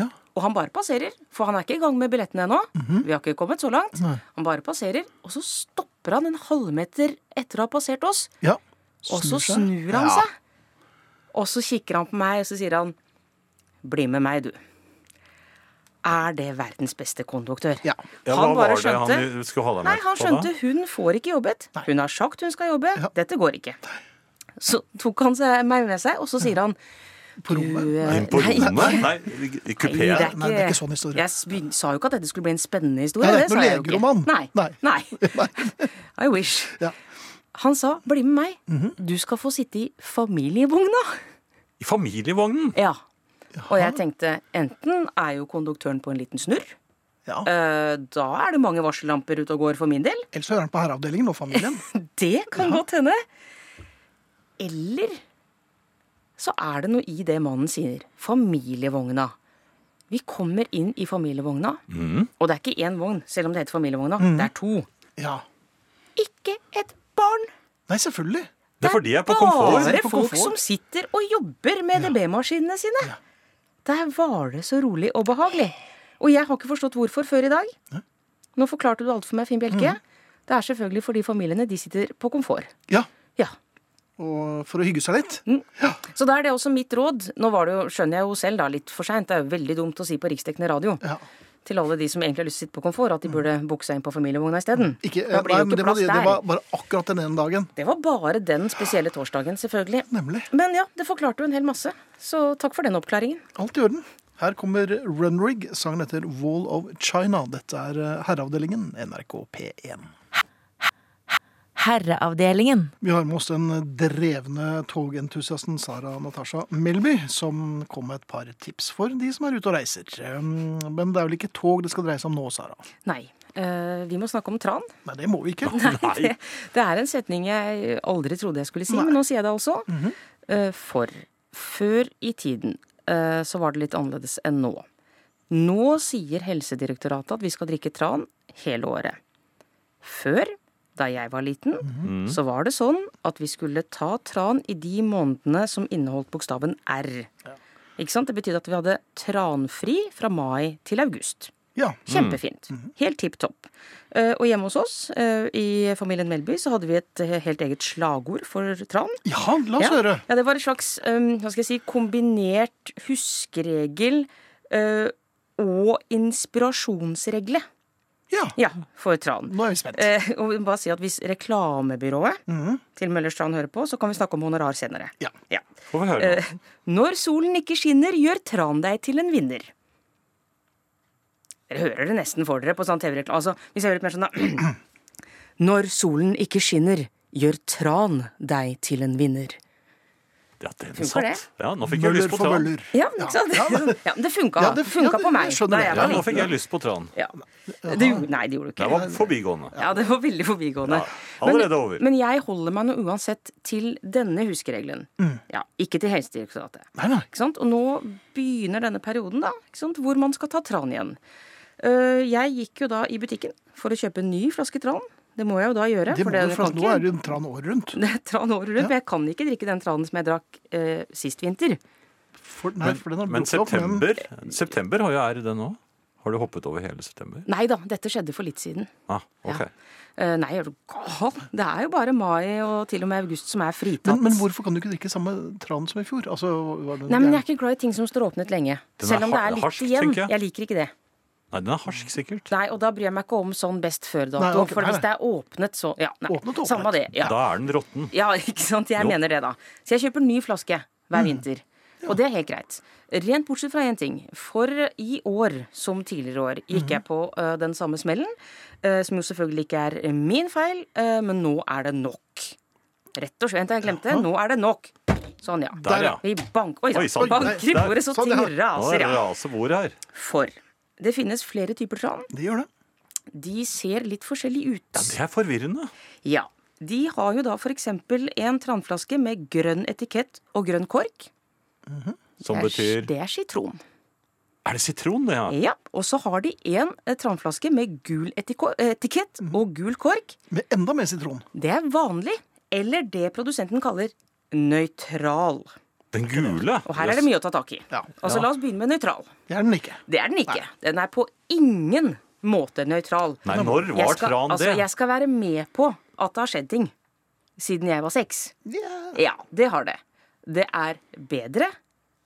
Speaker 3: Ja.
Speaker 1: Og han bare passerer, for han er ikke i gang med billettene ennå.
Speaker 3: Mhm.
Speaker 1: Vi har ikke kommet så langt. Han bare passerer, og så stopper han en halvmeter etter å ha passert oss.
Speaker 3: ja.
Speaker 1: Og så
Speaker 3: Snur seg.
Speaker 1: snur han
Speaker 3: Ja.
Speaker 1: seg. Og så kikker han på meg, og så sier han Bli med meg, du. Er det verdens beste konduktør?
Speaker 3: Ja.
Speaker 4: Ja, hva
Speaker 1: han bare
Speaker 4: var det
Speaker 1: skjønte
Speaker 4: han skulle ha deg med
Speaker 1: Nei, han
Speaker 4: på da?
Speaker 1: skjønte hun får ikke jobbet. Hun har sagt hun skal jobbe. Dette går ikke. Så tok han seg, meg med seg, og så sier han
Speaker 3: På rommet?
Speaker 1: Du, eh,
Speaker 4: Inn på
Speaker 1: nei,
Speaker 4: rommet? Nei, i
Speaker 1: Nei, det er
Speaker 4: kupeen.
Speaker 1: ikke,
Speaker 3: Nei, det er ikke sånn historie.
Speaker 1: Jeg s- begyn- sa jo ikke at dette skulle bli en spennende historie.
Speaker 3: Nei, det er
Speaker 1: det sa
Speaker 3: ikke
Speaker 1: jeg jo
Speaker 3: noen
Speaker 1: ikke.
Speaker 3: legeroman.
Speaker 1: Nei.
Speaker 3: Nei. [laughs]
Speaker 1: Nei. I wish.
Speaker 3: Ja. Mhm.
Speaker 1: Han sa 'bli med meg, du skal få sitte i familievogna'.
Speaker 4: I familievognen?
Speaker 1: Ja. Og jeg tenkte enten er jo konduktøren på en liten snurr.
Speaker 3: Ja.
Speaker 1: eh, Da er det mange varsellamper ute og går for min del.
Speaker 3: Ellers hører han på herreavdelingen og
Speaker 1: [laughs]
Speaker 3: familien.
Speaker 1: Det kan godt hende. Eller så er det noe i det mannen sier. Familievogna. Vi kommer inn i familievogna,
Speaker 4: Mm.
Speaker 1: og det er ikke én vogn, selv om det heter familievogna. Det er to.
Speaker 3: Ja.
Speaker 1: Ikke et barn!
Speaker 3: Nei, selvfølgelig.
Speaker 4: Det er fordi jeg er på komfort.
Speaker 1: bare
Speaker 3: På
Speaker 1: folk
Speaker 3: komfort.
Speaker 1: som sitter og jobber med DB-maskinene sine. Der var det så rolig og behagelig. Og jeg har ikke forstått hvorfor før i dag. Nå forklarte du alt for meg, Finn Bjelke.
Speaker 4: Mm.
Speaker 1: Det er selvfølgelig fordi familiene de sitter på komfort.
Speaker 3: Ja.
Speaker 1: Ja.
Speaker 3: Og for å hygge seg litt.
Speaker 1: Mm. Så da er det også mitt råd. Nå var det jo, skjønner jeg jo selv da, litt for seint. Det er jo veldig dumt å si på riksdekkende radio
Speaker 3: Ja.
Speaker 1: til alle de som egentlig har lyst til å sitte på komfort, at de burde bukse inn på familievogna isteden.
Speaker 3: Ikke,
Speaker 1: Da blir
Speaker 3: nei,
Speaker 1: det
Speaker 3: men
Speaker 1: jo
Speaker 3: det,
Speaker 1: ikke
Speaker 3: var,
Speaker 1: plass
Speaker 3: det
Speaker 1: der.
Speaker 3: var bare akkurat den ene dagen.
Speaker 1: Det var bare den spesielle torsdagen, selvfølgelig.
Speaker 3: Nemlig.
Speaker 1: Men ja, det forklarte jo en hel masse. Så takk for den oppklaringen.
Speaker 3: Alt i orden. Her kommer Runrig. Sangen heter Wall of China. Dette er eh, Herreavdelingen, NRK P1.
Speaker 6: Herreavdelingen.
Speaker 3: Vi har med oss den drevne togentusiasten Sara Natasha Melby, som kom med et par tips for de som er ute og reiser. Eh, Men det er vel ikke tog det skal dreie seg om nå, Sara?
Speaker 1: Nei. eh, vi må snakke om tran.
Speaker 3: Nei, det må vi ikke.
Speaker 4: Nei.
Speaker 1: [laughs] Det er en setning jeg aldri trodde jeg skulle si, men nå sier jeg det altså. Eh, for før i tiden eh, så var det litt annerledes enn nå. Nå sier Helsedirektoratet at vi skal drikke tran hele året. Før, da jeg var liten, så var det sånn at vi skulle ta tran i de månedene som inneholdt bokstaven R. Ikke sant? Det betydde at vi hadde tranfri fra mai til august.
Speaker 3: Ja.
Speaker 1: Kjempefint. Helt tipp topp. Eh, Og hjemme hos oss eh, i familien Melby så hadde vi et eh, helt eget slagord for tran.
Speaker 3: ja, la oss
Speaker 1: Ja.
Speaker 3: høre.
Speaker 1: Ja, det var et slags eh, hva skal jeg si, kombinert huskeregel eh, og inspirasjonsregle
Speaker 3: Ja,
Speaker 1: ja, for tran.
Speaker 3: nå er vi spent.
Speaker 1: Eh, og vi må bare si at Hvis reklamebyrået til Møllerstrand hører på, så kan vi snakke om honorar senere.
Speaker 3: Ja.
Speaker 4: Får vi
Speaker 1: Eh,
Speaker 4: høre nå.
Speaker 1: Når solen ikke skinner, gjør tran deg til en vinner. Dere hører det nesten for dere på sånn TV-reklame. Altså, hvis jeg gjør litt mer sånn da. [clears throat] Når solen ikke skinner, gjør tran deg til en vinner.
Speaker 4: Ja, den
Speaker 1: Funker
Speaker 4: satt.
Speaker 1: det?
Speaker 4: Ja, nå fikk jeg
Speaker 3: Møller
Speaker 4: lyst på
Speaker 3: for
Speaker 4: tran.
Speaker 3: møller.
Speaker 1: Ja, ikke sant? [laughs] Ja, men det funka.
Speaker 3: Ja, det-
Speaker 1: det
Speaker 3: ja,
Speaker 1: funka
Speaker 3: det-
Speaker 1: på meg.
Speaker 3: jeg skjønner
Speaker 1: da
Speaker 3: det.
Speaker 1: jeg
Speaker 4: Ja,
Speaker 1: var
Speaker 4: nå
Speaker 1: liten.
Speaker 4: fikk jeg lyst på tran.
Speaker 1: Ja. Det gjorde, nei, det gjorde du
Speaker 4: Det
Speaker 1: ikke.
Speaker 4: var forbigående.
Speaker 1: Ja, det var veldig forbigående.
Speaker 4: Ja, allerede
Speaker 1: Men-
Speaker 4: over.
Speaker 1: Men jeg holder meg nå uansett til denne huskeregelen. Ja, ikke til Helsedirektoratet.
Speaker 3: Nei, nei.
Speaker 1: Ikke sant? Og nå begynner denne perioden, da, ikke sant? hvor man skal ta tran igjen. Eh, Jeg gikk jo da i butikken for å kjøpe en ny flaske tran. Det må jeg jo da gjøre.
Speaker 3: Det må
Speaker 1: det-
Speaker 3: du, for at nå
Speaker 1: jeg kan
Speaker 3: er
Speaker 1: ikke-
Speaker 3: det jo tran året rundt.
Speaker 1: [laughs] det er tran året rundt,
Speaker 3: Ja.
Speaker 1: men jeg kan ikke drikke den tranen som jeg drakk eh, sist vinter.
Speaker 3: For, nei,
Speaker 4: Men,
Speaker 3: for den har
Speaker 4: men
Speaker 3: blukket opp, men-
Speaker 4: september, september har jo er den nå. Har du hoppet over hele september?
Speaker 1: Nei da, dette skjedde for litt siden.
Speaker 4: Ah, ok.
Speaker 1: Ja. Eh, Nei, er du gal? Det er jo bare mai og til og med august som er fritatt.
Speaker 3: Men, men hvorfor kan du ikke drikke samme tran som i fjor? Altså, var det
Speaker 1: Nei, men jeg er ikke glad i ting som står åpnet lenge.
Speaker 4: Den er
Speaker 1: Selv om det
Speaker 4: har-
Speaker 1: er litt
Speaker 4: harsk,
Speaker 1: igjen.
Speaker 4: tenker jeg.
Speaker 1: Jeg. liker ikke det.
Speaker 4: Nei, den er harsk, sikkert.
Speaker 1: Nei, og da bryr jeg meg ikke om sånn best før-dato.
Speaker 3: Nei, ok,
Speaker 1: for
Speaker 3: nei,
Speaker 1: hvis det er åpnet, så ja, nei.
Speaker 3: Åpnet, åpnet.
Speaker 1: Samme det. Ja.
Speaker 4: Da er den råtten.
Speaker 1: ja, [laughs] ikke sant. Jeg
Speaker 4: Jo.
Speaker 1: mener det, da. Så jeg kjøper ny flaske
Speaker 3: Mm.
Speaker 1: hver vinter. Og det er helt greit. Rent bortsett fra én ting. For i år, som tidligere år,
Speaker 3: Mm.
Speaker 1: gikk jeg på ø, den samme smellen. ø, som jo selvfølgelig ikke er min feil, ø, men nå er det nok. Rett og slett. Jeg glemte. Nå er det nok. Sånn, ja.
Speaker 4: Der, ja.
Speaker 1: Vi bank, oi,
Speaker 4: Oi,
Speaker 1: sann.
Speaker 4: sant.
Speaker 1: banker i
Speaker 4: Der.
Speaker 1: bordet så
Speaker 3: Sånn,
Speaker 1: ting
Speaker 3: ja.
Speaker 4: Nå
Speaker 1: raser,
Speaker 4: er det
Speaker 1: ja.
Speaker 4: rasebord her.
Speaker 1: For det finnes flere typer tran.
Speaker 3: Det gjør det.
Speaker 1: De ser litt forskjellig ut.
Speaker 4: Ja, det er forvirrende.
Speaker 1: Ja. De har jo da f.eks. en tranflaske med grønn etikett og grønn kork.
Speaker 4: Som
Speaker 1: Det er-
Speaker 4: betyr
Speaker 1: Det er sitron.
Speaker 4: Er det sitron, det, ja?
Speaker 1: Ja. Og så har de en eh, tranflaske med gul etiko- eh, etikett
Speaker 4: Mm.
Speaker 1: og gul kork.
Speaker 3: Med enda mer sitron.
Speaker 1: Det er vanlig. Eller det produsenten kaller nøytral.
Speaker 4: Den gule?
Speaker 1: Og her er det mye å ta tak i.
Speaker 3: Ja.
Speaker 1: Altså,
Speaker 4: Ja.
Speaker 1: La oss begynne med nøytral.
Speaker 3: Det er den ikke.
Speaker 1: Det er den ikke. Den er på ingen måte nøytral.
Speaker 4: Nei, når
Speaker 1: Jeg
Speaker 4: var
Speaker 1: skal,
Speaker 4: tran
Speaker 1: altså,
Speaker 4: det?
Speaker 1: jeg skal være med på at det har skjedd ting siden jeg var seks. Ja, det har det. Det er bedre,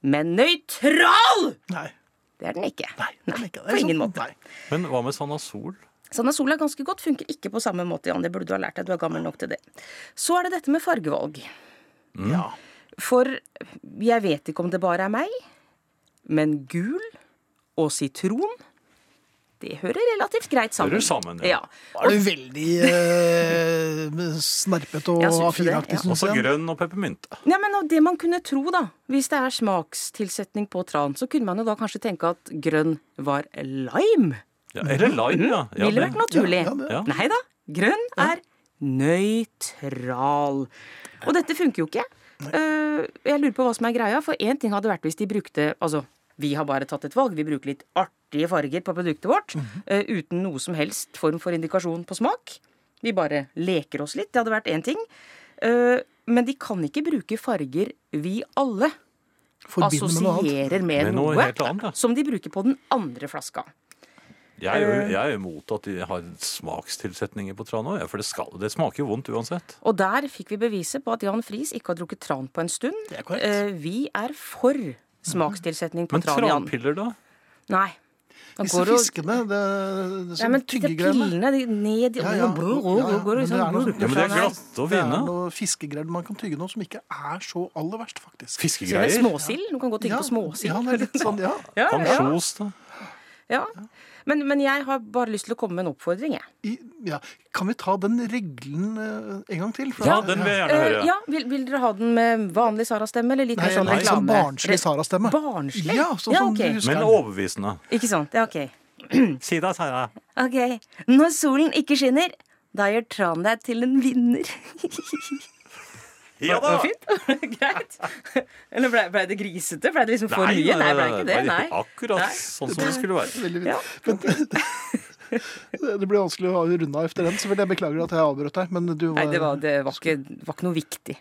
Speaker 1: men nøytral!
Speaker 3: Nei.
Speaker 1: Det er den ikke.
Speaker 3: Nei, den er ikke. Det er
Speaker 1: på
Speaker 3: sånn-
Speaker 1: ingen måte.
Speaker 3: Nei.
Speaker 4: Men hva med Sanasol?
Speaker 1: Sanna Sol er ganske godt, funker ikke på
Speaker 3: Mm.
Speaker 1: samme måte, Jan. Det burde du ha lært deg. Du er gammel nok til det. Så er det dette med fargevalg.
Speaker 3: Ja.
Speaker 1: For jeg vet ikke om det bare er meg, men gul og sitron, det hører relativt greit sammen.
Speaker 4: Hører sammen, ja.
Speaker 1: ja.
Speaker 3: Var det veldig eh,
Speaker 1: [laughs]
Speaker 3: snerpete og
Speaker 1: Jeg synes jo det, ja.
Speaker 3: A4-aktig, syns
Speaker 4: Også
Speaker 3: jeg.
Speaker 4: grønn og peppermynte.
Speaker 1: Nei, men av Det man kunne tro, da, hvis det er smakstilsetning på tran, så kunne man jo da kanskje tenke at grønn var lime.
Speaker 4: Ja, eller lime, ja. ja
Speaker 1: Mm-hmm. Ville
Speaker 4: det-
Speaker 1: vært naturlig.
Speaker 3: Ja, ja, det-
Speaker 4: ja.
Speaker 1: Nei da. Grønn er nøytral. Og dette funker jo ikke. Eh, jeg lurer på hva som er greia, for én ting hadde vært hvis de brukte Altså, vi har bare tatt et valg. Vi bruker litt artige farger på produktet vårt
Speaker 3: Mhm.
Speaker 1: eh, uten noe som helst form for indikasjon på smak. Vi bare leker oss litt. Det hadde vært én ting. Eh, men de kan ikke bruke farger vi alle
Speaker 3: Forbinder med noe annet.
Speaker 1: assosierer med,
Speaker 4: Med noe
Speaker 1: noe,
Speaker 4: helt annet, ja.
Speaker 1: som de bruker på den andre flaska.
Speaker 4: Jeg er,
Speaker 1: Eh.
Speaker 4: jo- jeg er imot at de har smakstilsetninger på tran òg, for det, skal, det smaker jo vondt uansett.
Speaker 1: Og der fikk vi beviset på at Jan Friis ikke har drukket tran på en stund.
Speaker 3: Det er korrekt.
Speaker 1: Eh, vi er for smakstilsetning på
Speaker 4: Men
Speaker 1: tran, Jan.
Speaker 4: tranpiller, da?
Speaker 1: Nei. Han
Speaker 3: Disse
Speaker 1: og-
Speaker 3: fiskene, det, det
Speaker 1: Nei,
Speaker 3: som
Speaker 1: men de
Speaker 3: tyggegreiene.
Speaker 1: pillene de, ned i
Speaker 3: Ja, ja.
Speaker 1: Brr, brr, brr,
Speaker 3: Ja, ja.
Speaker 1: går
Speaker 3: Men
Speaker 1: liksom-
Speaker 3: det er noe-
Speaker 4: Ja, men det er
Speaker 1: Nei, nei.
Speaker 4: glatt og
Speaker 3: Det er
Speaker 4: fine.
Speaker 3: noe fiskegreier man kan tygge nå som ikke er så aller verst, faktisk.
Speaker 1: Eller
Speaker 4: Fiskegreier.
Speaker 1: småsild. Du kan godt tenke
Speaker 3: ja,
Speaker 1: på småsild.
Speaker 3: Ja, det er litt
Speaker 1: [laughs]
Speaker 3: sånn, ja.
Speaker 1: Ja, ja, ja.
Speaker 4: Ansjos, da.
Speaker 1: ja. Men, men jeg har bare lyst til å komme med en oppfordring, jeg.
Speaker 3: I, ja. Kan vi ta den reglen eh, en gang til? For-
Speaker 4: Ja, den vil jeg gjerne
Speaker 1: Eh,
Speaker 4: høre.
Speaker 1: ja, vil, vil dere ha den med vanlig Sara-stemme, eller litt
Speaker 3: Nei,
Speaker 1: mer sånn
Speaker 3: nei, sånn
Speaker 1: reklame?
Speaker 3: barnslig
Speaker 1: Re-
Speaker 3: Sara-stemme.
Speaker 1: Barnslig?
Speaker 3: Ja, sånn som du
Speaker 1: ok.
Speaker 3: husker.
Speaker 4: Men overbevisende.
Speaker 1: Ikke sant. Ja, ok.
Speaker 4: Si det, Sara.
Speaker 1: Ok, når solen ikke skinner, da gjør tran deg til en vinner.
Speaker 4: Ja
Speaker 1: Var det [laughs] fint? Greit. Eller ble, ble det grisete? Ble det liksom for mye? Nei, ble det ikke det? Nei.
Speaker 4: Akkurat
Speaker 1: Nei.
Speaker 4: sånn som det skulle være.
Speaker 3: Veldig
Speaker 1: Ja.
Speaker 3: fint. Men, [laughs] det blir vanskelig å runde av etter den, så vel, jeg beklager at jeg avbrøt deg. Men du
Speaker 1: Nei, det var, det var, ikke, var ikke noe viktig.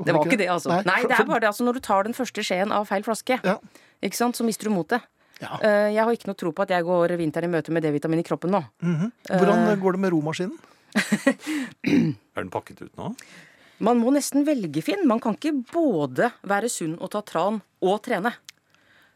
Speaker 1: Det var ikke det, altså. Nei, det er bare det, altså, når du tar den første skjeen av feil flaske,
Speaker 3: Ja.
Speaker 1: ikke sant, så mister du motet.
Speaker 3: Ja.
Speaker 1: Eh, Jeg har ikke noe tro på at jeg går vinteren i møte med D-vitamin i kroppen nå.
Speaker 3: Hvordan
Speaker 1: Eh,
Speaker 3: går det med romaskinen?
Speaker 4: Er den pakket ut nå?
Speaker 1: Man må nesten velge, Finn. Man kan ikke både være sunn og ta tran og trene.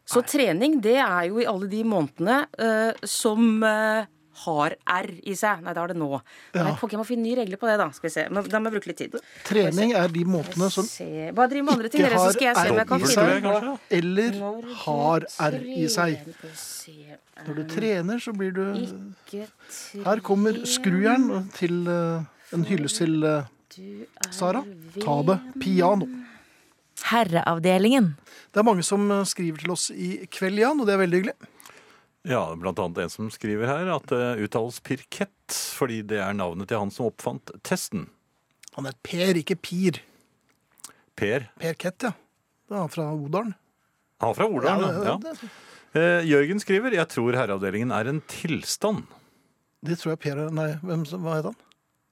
Speaker 1: Så trening, det er jo i alle de månedene eh, som eh, har R i seg. Nei, det har det nå. Nei, fuck, jeg må finne nye regler på det, da. Skal vi se. Men, da må jeg bruke litt tid.
Speaker 3: Trening er de måtene som
Speaker 1: Se. Bare driv med andre ting,
Speaker 3: ikke
Speaker 1: dere, så skal jeg se om jeg
Speaker 3: har R i
Speaker 1: kan finne
Speaker 4: det,
Speaker 3: seg,
Speaker 1: ut hva-
Speaker 4: kanskje?
Speaker 3: eller har R i seg.
Speaker 1: Trene, se.
Speaker 3: Når du trener, så blir du
Speaker 1: Ikke tre-
Speaker 3: Her kommer skrujern til eh, en hyllest til eh,
Speaker 1: Du er
Speaker 3: Sara. Ta det piano.
Speaker 6: Herreavdelingen.
Speaker 3: Det er mange som eh, skriver til oss i kveld, Jan, og det er veldig hyggelig.
Speaker 4: Ja, blant annet en som skriver her at det uttales pirkett fordi det er navnet til han som oppfant testen.
Speaker 3: Han er Per, ikke Pir.
Speaker 4: Per.
Speaker 3: Per Kett, ja. Det er han fra Odalen.
Speaker 4: Han er fra Ola. Ja,
Speaker 3: det, det,
Speaker 4: Eh, Jørgen skriver jeg tror herreavdelingen er en tilstand.
Speaker 3: det tror jeg Per er Nei, hvem, som- hva het han?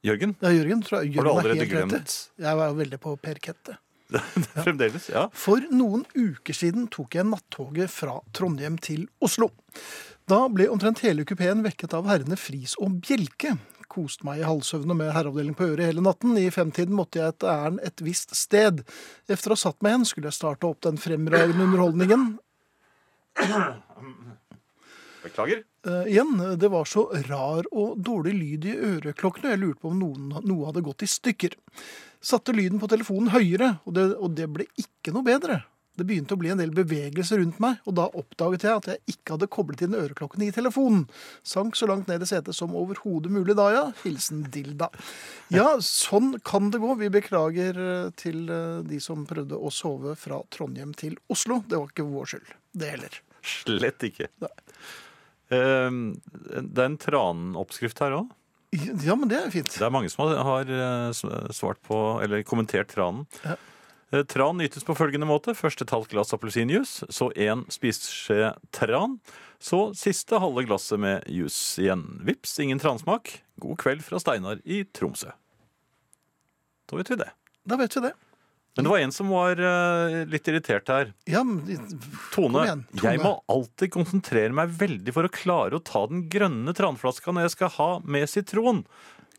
Speaker 4: Jørgen, [laughs]
Speaker 3: Ja, Jørgen. Tror jeg,
Speaker 4: har
Speaker 3: Jørgen
Speaker 4: du
Speaker 3: er
Speaker 4: allerede
Speaker 3: helt rett i.
Speaker 4: glemt?
Speaker 3: Jeg var veldig på Per Kett. jeg.
Speaker 4: Fremdeles? Ja.
Speaker 3: For noen uker siden tok jeg nattoget fra Trondheim til Oslo. Da ble omtrent hele kupeen vekket av herrene Friis og Bjelke. Koste meg i halvsøvne med herreavdeling på øret hele natten. I femtiden måtte jeg et ærend et visst sted. Efter å ha satt meg igjen, skulle jeg starte opp den fremragende underholdningen.
Speaker 4: Beklager.
Speaker 3: Eh, igjen, det var så rar og dårlig lyd i øreklokkene, jeg lurte på om noen, noe hadde gått i stykker. Satte lyden på telefonen høyere, og det, og det ble ikke noe bedre. Det begynte å bli en del bevegelser rundt meg, og da oppdaget jeg at jeg ikke hadde koblet inn øreklokkene i telefonen. Sank så langt ned i setet som overhodet mulig da, ja. Hilsen Dilda. Ja, sånn kan det gå. Vi beklager eh, til eh, de som prøvde å sove fra Trondheim til Oslo. Det var ikke vår skyld, det heller.
Speaker 4: Slett ikke. Eh, Det er en tranoppskrift her òg.
Speaker 3: Ja, men det er fint.
Speaker 4: Det er mange som har- har eh, s- svart på, eller kommentert tranen. Eh, Tran nytes på følgende måte. Først et halvt glass appelsinjuice, så en spiseskje tran, så siste halve glasset med juice igjen. Vips, ingen transmak. God kveld fra Steinar i Tromsø. Da vet vi det.
Speaker 3: Da vet vi det.
Speaker 4: Men det var en som var eh, litt irritert her.
Speaker 3: Ja, men de-
Speaker 4: Tone,
Speaker 3: Kom igjen, Tone.
Speaker 4: jeg må alltid konsentrere meg veldig for å klare å ta den grønne tranflaska når jeg skal ha med sitron.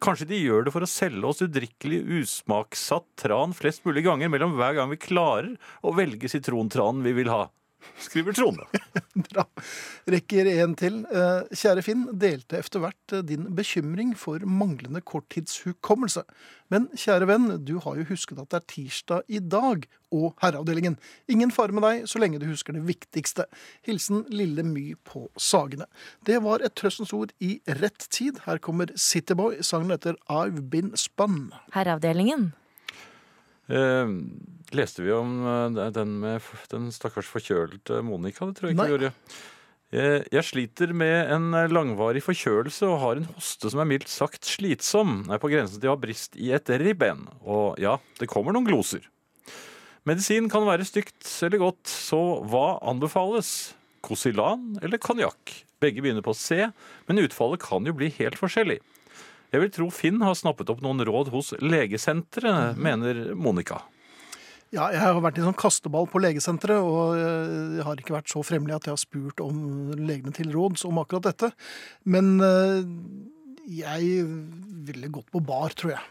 Speaker 4: Kanskje de gjør det for å selge oss udrikkelig usmaksatt tran flest mulig ganger mellom hver gang vi klarer å velge sitrontranen vi vil ha. skriver Trone.
Speaker 3: [laughs] Bra. Rekker en til. Eh, Kjære Finn, delte efter hvert eh, din bekymring for manglende korttidshukommelse. Men kjære venn, du har jo husket at det er tirsdag i dag og Herreavdelingen. Ingen fare med deg så lenge du husker det viktigste. Hilsen Lille My på Sagene. Det var et trøstens ord i rett tid. Her kommer Cityboy. Sangen heter I've Been Spun.
Speaker 6: Herreavdelingen.
Speaker 4: Eh, leste vi om eh, den med f- den stakkars forkjølte Monica? Det tror jeg ikke
Speaker 3: Nei.
Speaker 4: vi gjorde. Eh, Jeg sliter med en eh, langvarig forkjølelse og har en hoste som er mildt sagt slitsom. Jeg er på grensen til å ha brist i et ribben. Og ja, det kommer noen gloser. Medisin kan være stygt eller godt, så hva anbefales? Kosilan eller konjakk? Begge begynner på C, men utfallet kan jo bli helt forskjellig. Jeg vil tro Finn har snappet opp noen råd hos legesenteret, mener Monica.
Speaker 3: Ja, jeg har vært i sånn kasteball på legesenteret, og eh, jeg har ikke vært så fremmelig at jeg har spurt om legene til råds om akkurat dette. Men eh, jeg ville gått på bar, tror jeg.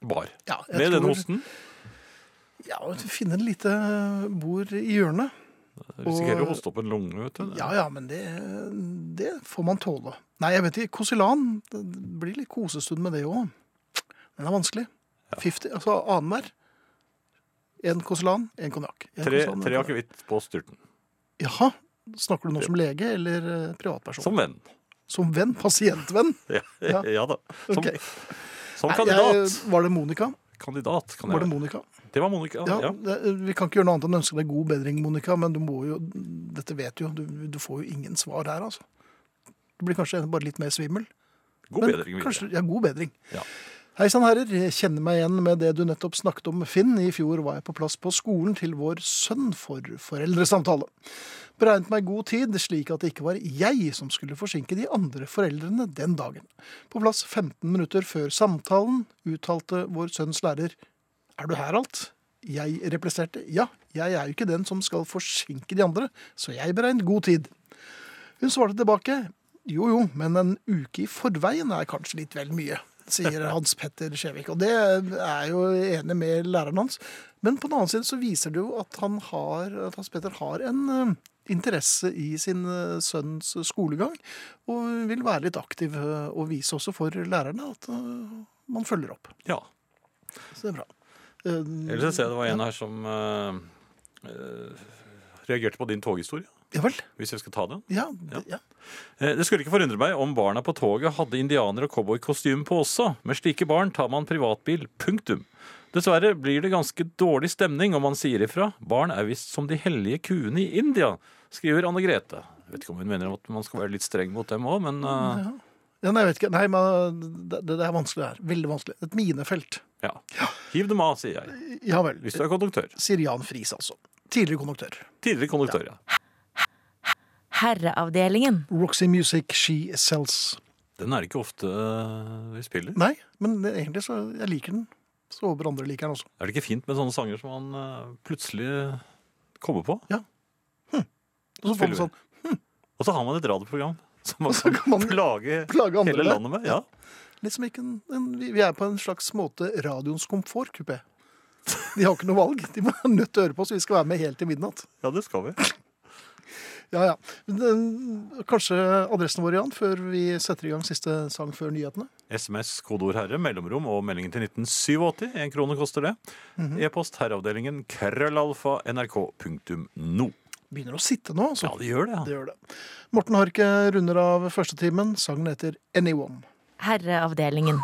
Speaker 4: Bar.
Speaker 3: Ja, jeg
Speaker 4: Med den
Speaker 3: tror-
Speaker 4: hosten
Speaker 3: Ja, og Finne et lite eh, bord i hjørnet.
Speaker 4: risikerer du å hoste opp en lunge. vet du.
Speaker 3: Ja ja, men det, det får man tåle. Nei, jeg vet ikke. Kosilan. Det blir litt kosestund med det òg. Den er vanskelig. 50, altså annenhver. Én kosilan, én konjakk. En
Speaker 4: Tre,
Speaker 3: Kosilan, en
Speaker 4: tre
Speaker 3: konjakk.
Speaker 4: akevitt på styrten.
Speaker 3: Jaha. Snakker du nå som lege eller eh, privatperson?
Speaker 4: Som venn.
Speaker 3: Som venn? Pasientvenn?
Speaker 4: Ja,
Speaker 3: Ja.
Speaker 4: [laughs] ja da. Som,
Speaker 3: Ok.
Speaker 4: som
Speaker 3: Nei,
Speaker 4: kandidat.
Speaker 3: jeg- eh, var det Monica?
Speaker 4: Kandidat, kan
Speaker 3: Var det
Speaker 4: jeg være.
Speaker 3: Monica?
Speaker 4: Det var Monica.
Speaker 3: Ja,
Speaker 4: Ja.
Speaker 3: det- eh, Vi kan ikke gjøre noe annet enn å ønske deg god bedring, Monica, men du må jo Dette vet du jo. Du, du får jo ingen svar her, altså. Du blir kanskje bare litt mer svimmel.
Speaker 4: God
Speaker 3: Men
Speaker 4: bedring videre.
Speaker 3: Kanskje, ja, god bedring.
Speaker 4: Ja.
Speaker 3: Hei sann, herrer. Jeg kjenner meg igjen med det du nettopp snakket om, Finn. I fjor var jeg på plass på skolen til vår sønn for foreldresamtale. Beregnet meg god tid, slik at det ikke var jeg som skulle forsinke de andre foreldrene den dagen. På plass 15 minutter før samtalen uttalte vår sønns lærer Er du her alt? Jeg repliserte ja, jeg er jo ikke den som skal forsinke de andre, så jeg beregnet god tid. Hun svarte tilbake jo jo, men en uke i forveien er kanskje litt vel mye, sier Hans Petter Skjevik. Og det er jo enig med læreren hans. Men på den annen side så viser det jo at, han har, at Hans Petter har en eh, interesse i sin eh, sønns skolegang, og vil være litt aktiv eh, og vise også for lærerne at eh, man følger opp.
Speaker 4: Ja.
Speaker 3: Så det er bra. Eh,
Speaker 4: Ellers så ser jeg det var en her som eh, eh, reagerte på din toghistorie.
Speaker 3: Ja vel.
Speaker 4: Hvis jeg skal ta den.
Speaker 3: Ja, det- ja.
Speaker 4: Eh, Det skulle ikke forundre meg om barna på toget hadde indianer- og cowboykostyme på også. Med slike barn tar man privatbil. Punktum. Dessverre blir det ganske dårlig stemning om man sier ifra. Barn er visst som de hellige kuene i India, skriver Anne Grete. Jeg vet ikke om hun mener at man skal være litt streng mot dem òg, men eh,
Speaker 3: ja. Nei, jeg vet ikke. Nei, men det, det er vanskelig her. Veldig vanskelig. Et minefelt.
Speaker 4: ja. Hiv dem av, sier jeg.
Speaker 3: Ja vel.
Speaker 4: Hvis du er konduktør.
Speaker 3: sier Jan Friis, altså. Tidligere konduktør.
Speaker 4: Tidligere konduktør, ja.
Speaker 6: Herreavdelingen.
Speaker 3: Roxy Music, She Sells.
Speaker 4: Den er det ikke ofte eh, vi spiller.
Speaker 3: Nei, men det, egentlig så jeg liker den. Så håper andre liker den også.
Speaker 4: Er det ikke fint med sånne sanger som man eh, plutselig kommer på?
Speaker 3: Og så får man
Speaker 4: Spiller
Speaker 3: sånn
Speaker 4: Og så har man et radioprogram som man
Speaker 3: Og så
Speaker 4: kan,
Speaker 3: kan
Speaker 4: [laughs]
Speaker 3: man
Speaker 4: plage,
Speaker 3: plage andre
Speaker 4: hele
Speaker 3: med.
Speaker 4: landet med. Ja.
Speaker 3: Litt som ikke en, en, vi vi er på en slags måte radioens komfortkupé. De har ikke noe valg. De må nødt til å høre på, så vi skal være med helt til midnatt.
Speaker 4: Ja, det skal vi.
Speaker 3: Ja, ja. Men, eh, Kanskje adressen vår, Jan, før vi setter i gang siste sang før nyhetene?
Speaker 4: SMS, kodeord herre, mellomrom og meldingen til 1987. Én krone koster det.
Speaker 3: Mhm.
Speaker 4: E-post herreavdelingen krøllalfa nrk.no.
Speaker 3: Begynner å sitte nå, altså.
Speaker 4: Ja, det gjør det.
Speaker 3: Det
Speaker 4: Ja.
Speaker 3: gjør det. Morten Harket runder av førstetimen. Sangen heter 'Anyone'.
Speaker 6: Herreavdelingen.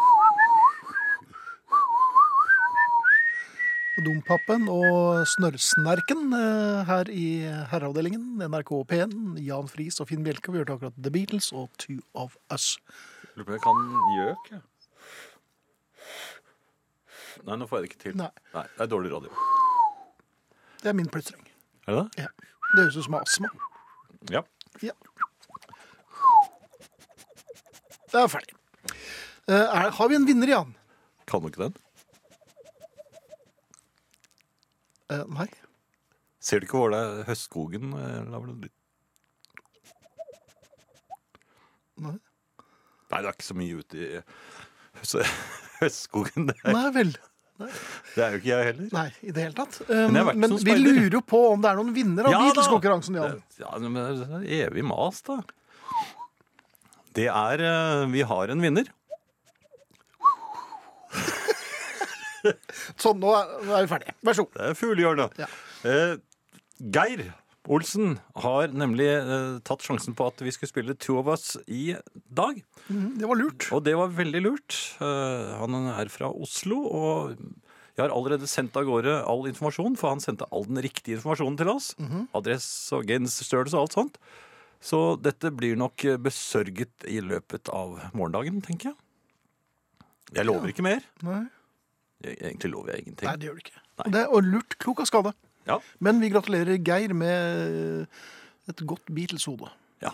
Speaker 3: Dompapen og Snørrsnerken eh, her i herreavdelingen. NRK P1, Jan Friis og Finn Bjelke. Vi hørte akkurat The Beatles og Two of Us.
Speaker 4: Lurer på om jeg kan gjøk. jeg. Nei, nå får jeg det ikke til.
Speaker 3: Nei.
Speaker 4: det er dårlig radio.
Speaker 3: Det er min plystring.
Speaker 4: Er det det?
Speaker 3: Ja. Det høres ut som astma.
Speaker 4: Ja.
Speaker 3: Ja. Det er ferdig. Eh, Er, har vi en vinner, Jan?
Speaker 4: Kan du ikke den?
Speaker 3: Eh, nei.
Speaker 4: Ser du ikke hvor det er høstskogen? eh, la vel-
Speaker 3: nei.
Speaker 4: Nei, det er ikke så mye ute i høst- [laughs] høstskogen. Det er
Speaker 3: Nei vel.
Speaker 4: Det er jo ikke jeg heller.
Speaker 3: Nei, i det hele tatt. Um,
Speaker 4: Men jeg har vært
Speaker 3: men
Speaker 4: som
Speaker 3: vi
Speaker 4: speider.
Speaker 3: lurer jo på om det er noen vinner av
Speaker 4: Ja, da!
Speaker 3: Beatles-konkurransen, Jan.
Speaker 4: Det- Ja, men det er sånn evig mas, da. Det er eh, Vi har en vinner.
Speaker 3: Sånn, nå er, nå er vi ferdige. Vær så god.
Speaker 4: Det er fuglehjørnet.
Speaker 3: Ja.
Speaker 4: Eh, Geir Olsen har nemlig eh, tatt sjansen på at vi skulle spille Two of Us i dag.
Speaker 3: Mm, Det var lurt.
Speaker 4: Og det var veldig lurt. Eh, han er fra Oslo, og jeg har allerede sendt av gårde all informasjon, for han sendte all den riktige informasjonen til oss.
Speaker 3: Mhm.
Speaker 4: Adresse og genserstørrelse og alt sånt. Så dette blir nok eh, besørget i løpet av morgendagen, tenker jeg. Jeg lover ikke mer.
Speaker 3: Nei,
Speaker 4: Jeg, egentlig lover jeg ingenting.
Speaker 3: Nei det gjør det ikke. Og Det er og lurt, klok av skade.
Speaker 4: Ja.
Speaker 3: Men vi gratulerer Geir med eh, et godt Beatles-hode.
Speaker 4: Ja.